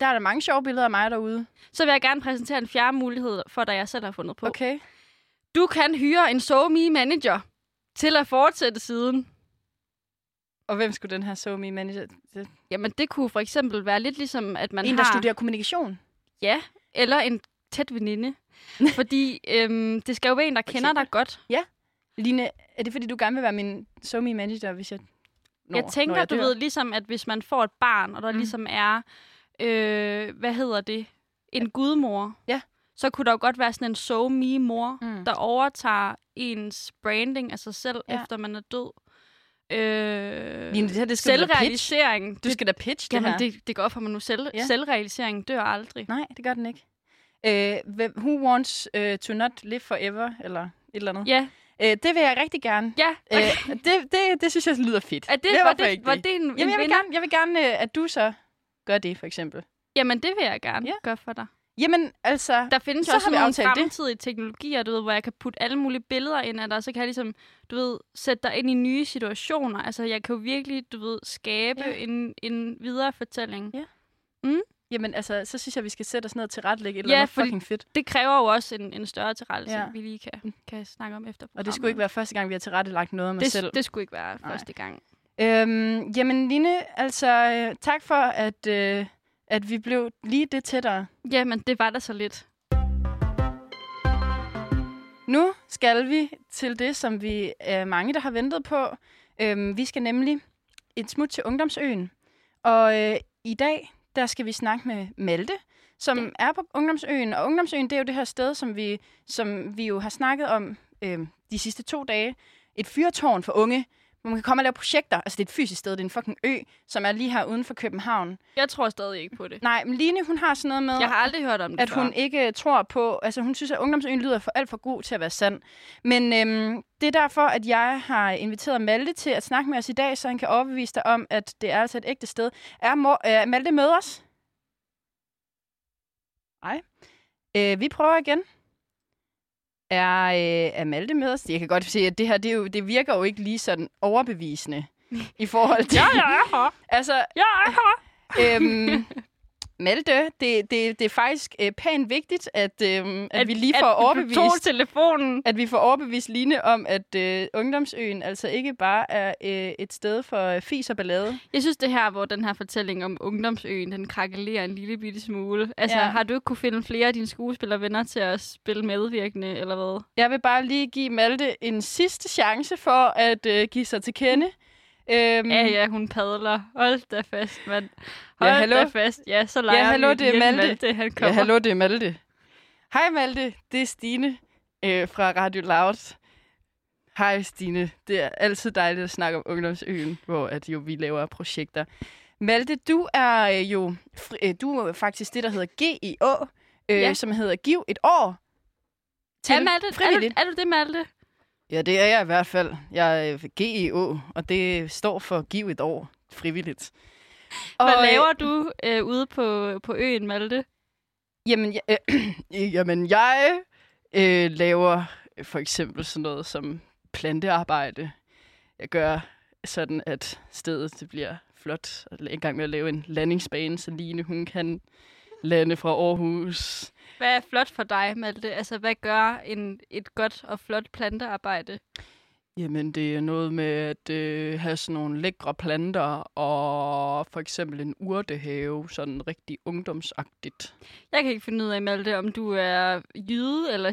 Der er der mange sjove billeder af mig derude. Så vil jeg gerne præsentere en fjerde mulighed for dig, jeg selv har fundet på. Okay. Okay. Du kan hyre en SoMe manager til at fortsætte siden. Og hvem skulle den her SoMe manager? Det, Jamen, det kunne for eksempel være lidt ligesom, at man en, har... der studerer kommunikation. Ja, eller en tæt veninde. Fordi øhm, det skal jo være en, der kender eksempel. dig godt. Line, er det fordi, du gerne vil være min SoMe manager, hvis jeg... Når, jeg tænker, når jeg du dør? ved, ligesom at hvis man får et barn, og der Mm. mm. ligesom er, øh, hvad hedder det, en gudmor, Ja. så kunne der jo godt være sådan en so me mor Mm. der overtager ens branding af sig selv, Ja. ja. efter man er død. Øh, Line, det her, det skal du da pitch. selvrealisering. Du skal da pitch det Jamen, her. det, det går op for mig nu. Selv, Ja. ja. Selvrealiseringen dør aldrig. Nej, det gør den ikke. Øh, hvem- who wants uh, to not live forever? Eller et eller andet. Ja, Øh, det vil jeg rigtig gerne. ja. Øh, det, det, det synes jeg lyder fedt. Er det, Hvorfor var, det, ikke var det en, Jamen, en jeg vil, vinder? gerne, jeg vil gerne, øh, at du så gør det, for eksempel. Jamen, det vil jeg gerne Ja. ja. gøre for dig. Jamen, altså... Der findes Så jo også har vi sådan nogle aftalt det. fremtidige det. teknologier, du ved, hvor jeg kan putte alle mulige billeder ind af dig, så kan jeg ligesom, du ved, sætte dig ind i nye situationer. Altså, jeg kan jo virkelig, du ved, skabe Ja. ja. en, en videre fortælling. Ja. Jamen, altså, så synes jeg, vi skal sætte os ned og tilrettelægge et Ja, eller andet fordi- fucking fedt. Det kræver jo også en, en større tilrettelse, Ja. ja. vi lige kan, kan snakke om efter Og det skulle ikke være første gang, vi har tilrettelagt noget af mig det, selv. det skulle ikke være Nej. første gang. Øhm, jamen, Line, altså, øh, tak for, at, øh, at vi blev lige det tættere. Jamen, det var da så lidt. Nu skal vi til det, som vi er mange, der har ventet på. Øhm, vi skal nemlig et smut til Ungdomsøen. Og øh, i dag, der skal vi snakke med Malte, som ja. er på Ungdomsøen. Og Ungdomsøen, det er jo det her sted, som vi, som vi jo har snakket om øhm, de sidste to dage. Et fyrtårn for unge, hvor man kan komme og lave projekter. Altså, det er et fysisk sted, det er en fucking ø, som er lige her uden for København. Jeg tror stadig ikke på det. Nej, men Line, hun har sådan noget med... Jeg har aldrig hørt om det at før. hun ikke tror på, altså hun synes, at ungdomsøen lyder for alt for god til at være sand. Men øhm, det er derfor, at jeg har inviteret Malte til at snakke med os i dag, så han kan overbevise dig om, at det er altså et ægte sted. Er mor, øh, Malte med os? Nej. Øh, vi prøver igen. Er øh, Amalte med os? Jeg kan godt se, at det her det, er jo, det virker jo ikke lige sådan overbevisende i forhold til... (laughs) Ja, jeg er her. Altså, Jeg er her. (laughs) øhm, Malte, det, det, det er faktisk øh, pænt vigtigt, at, øhm, at, at vi lige får at overbevist... Du tog telefonen. at vi får overbevist Line om, at øh, Ungdomsøen altså ikke bare er øh, et sted for øh, fis og ballade. Jeg synes, det her, hvor den her fortælling om ungdomsøen, den krakelerer en lille bitte smule. Altså, Ja. ja. har du ikke kunne finde flere af dine skuespillervenner til at spille medvirkende, eller hvad? Jeg vil bare lige give Malte en sidste chance for at øh, give sig til kende. Øhm, Ja, ja, hun padler. Hold da fast, mand. Hold Ja, hallo? da fast. Ja, så leger hallo, vi det er lige, at Malte. han kommer. ja, hallo, det er Malte. Hej Malte, det er Stine øh, fra Radio Loud. Hej Stine, det er altid dejligt at snakke om Ungdomsøen, hvor at jo vi laver projekter. Malte, du er øh, jo fri- øh, du er jo faktisk det, der hedder GIO, øh, Ja. som hedder Giv et år Er, Malte, er, du, frivilligt. er du det, Malte? Ja, det er jeg i hvert fald. Jeg er GEO, og det står for Giv et år frivilligt. Hvad øh, laver du øh, ude på, på øen, Malte? Jamen, jeg, øh, (clears throat) jamen, jeg øh, laver for eksempel sådan noget som plantearbejde. Jeg gør sådan, at stedet det bliver flot. Og er i gang med at lave en landingsbane, så Line hun kan lande fra Aarhus. Hvad er flot for dig, Malte? Altså, hvad gør en, et godt og flot plantearbejde? Jamen, det er noget med at øh, have sådan nogle lækre planter og for eksempel en urtehave, sådan rigtig ungdomsagtigt. Jeg kan ikke finde ud af, Malte, om du er jyde eller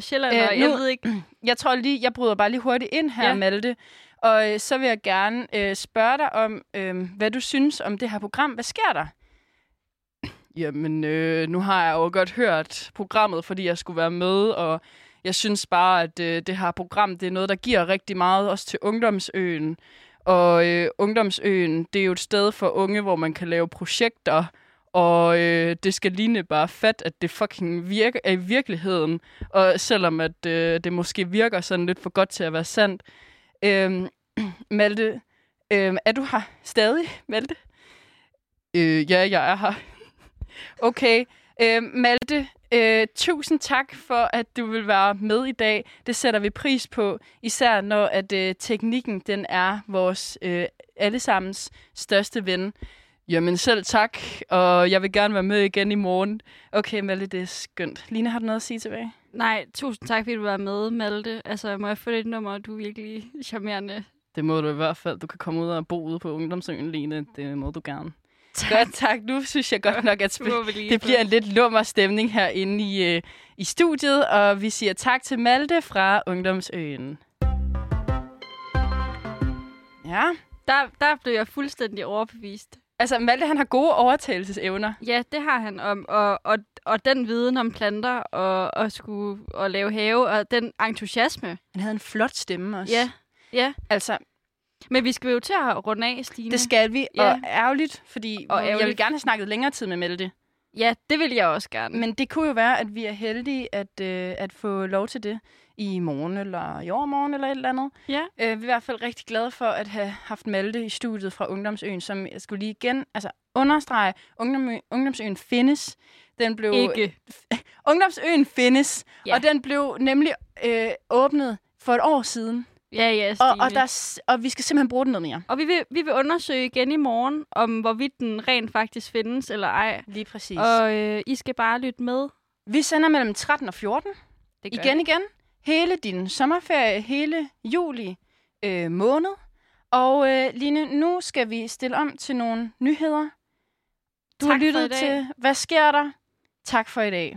Øh, sjællander. Øh, nu- Jeg ved ikke. jeg tror lige, jeg bryder bare lige hurtigt ind her, ja. Ja. Malte. Og øh, så vil jeg gerne øh, spørge dig om, øh, hvad du synes om det her program. Hvad sker der? Jamen, øh, nu har jeg jo godt hørt programmet, fordi jeg skulle være med, og jeg synes bare, at øh, det her program, det er noget, der giver rigtig meget, også til Ungdomsøen. Og øh, Ungdomsøen, det er jo et sted for unge, hvor man kan lave projekter, og øh, det skal ligne bare fat, at det fucking virker, er i virkeligheden. Og selvom at øh, det måske virker sådan lidt for godt til at være sandt. Øhm, (clears throat) Malte, øhm, er du her stadig, Malte? Øh, ja, jeg er her. (laughs) okay. Øhm, Malte, øh, tusind tak for, at du vil være med i dag. Det sætter vi pris på, især når at øh, teknikken den er vores øh, allesammens største ven. Jamen selv tak, og jeg vil gerne være med igen i morgen. Okay, Malte, det er skønt. Lina, har du noget at sige tilbage? Nej, tusind tak, fordi du var med, Malte. Altså, må jeg få dit nummer? Du er virkelig charmerende. Det må du i hvert fald. Du kan komme ud og bo ude på Ungdomsøen, Line. Det må du gerne. Tak. Godt, tak. Nu synes jeg godt nok, at Du sp- må vi lige det bliver en lidt lummer stemning herinde i, øh, i studiet. Og vi siger tak til Malte fra Ungdomsøen. Ja, Der, der blev jeg fuldstændig overbevist. altså Malte han har gode overtagelsesevner. Ja, det har han om, og, og, og den viden om planter og, og skulle og lave have, og den entusiasme. Han havde en flot stemme også. Ja, ja. Altså, Men vi skal jo til at runde af, Stine. det skal vi. Ja. Og ærgerligt, fordi Og og ærgerligt. jeg vil ærgerligt. gerne have snakket længere tid med Malte. Ja, det vil jeg også gerne. Men det kunne jo være, at vi er heldige at, øh, at få lov til det i morgen eller i overmorgen eller et eller andet. Ja. Øh, vi er i hvert fald rigtig glade for at have haft Malte i studiet fra Ungdomsøen, som jeg skulle lige igen altså understrege, Ungdom, Ungdomsøen findes. Den blev, Ikke. (laughs) Ungdomsøen findes, ja. Ja. og den blev nemlig øh, åbnet for et år siden. Ja, ja, Stine. Og, og, der, er s- og vi skal simpelthen bruge den noget mere. og vi, vil, vi vil undersøge igen i morgen, om hvorvidt den rent faktisk findes eller ej. Lige præcis. Og Og øh, I skal bare lytte med. vi sender mellem 13 og 14. Det Igen, igen. Hele din sommerferie, hele juli øh, måned. Og øh, Line, nu skal vi stille om til nogle nyheder. Du Tak har for i lyttet dag. til Hvad sker der? Tak for i dag.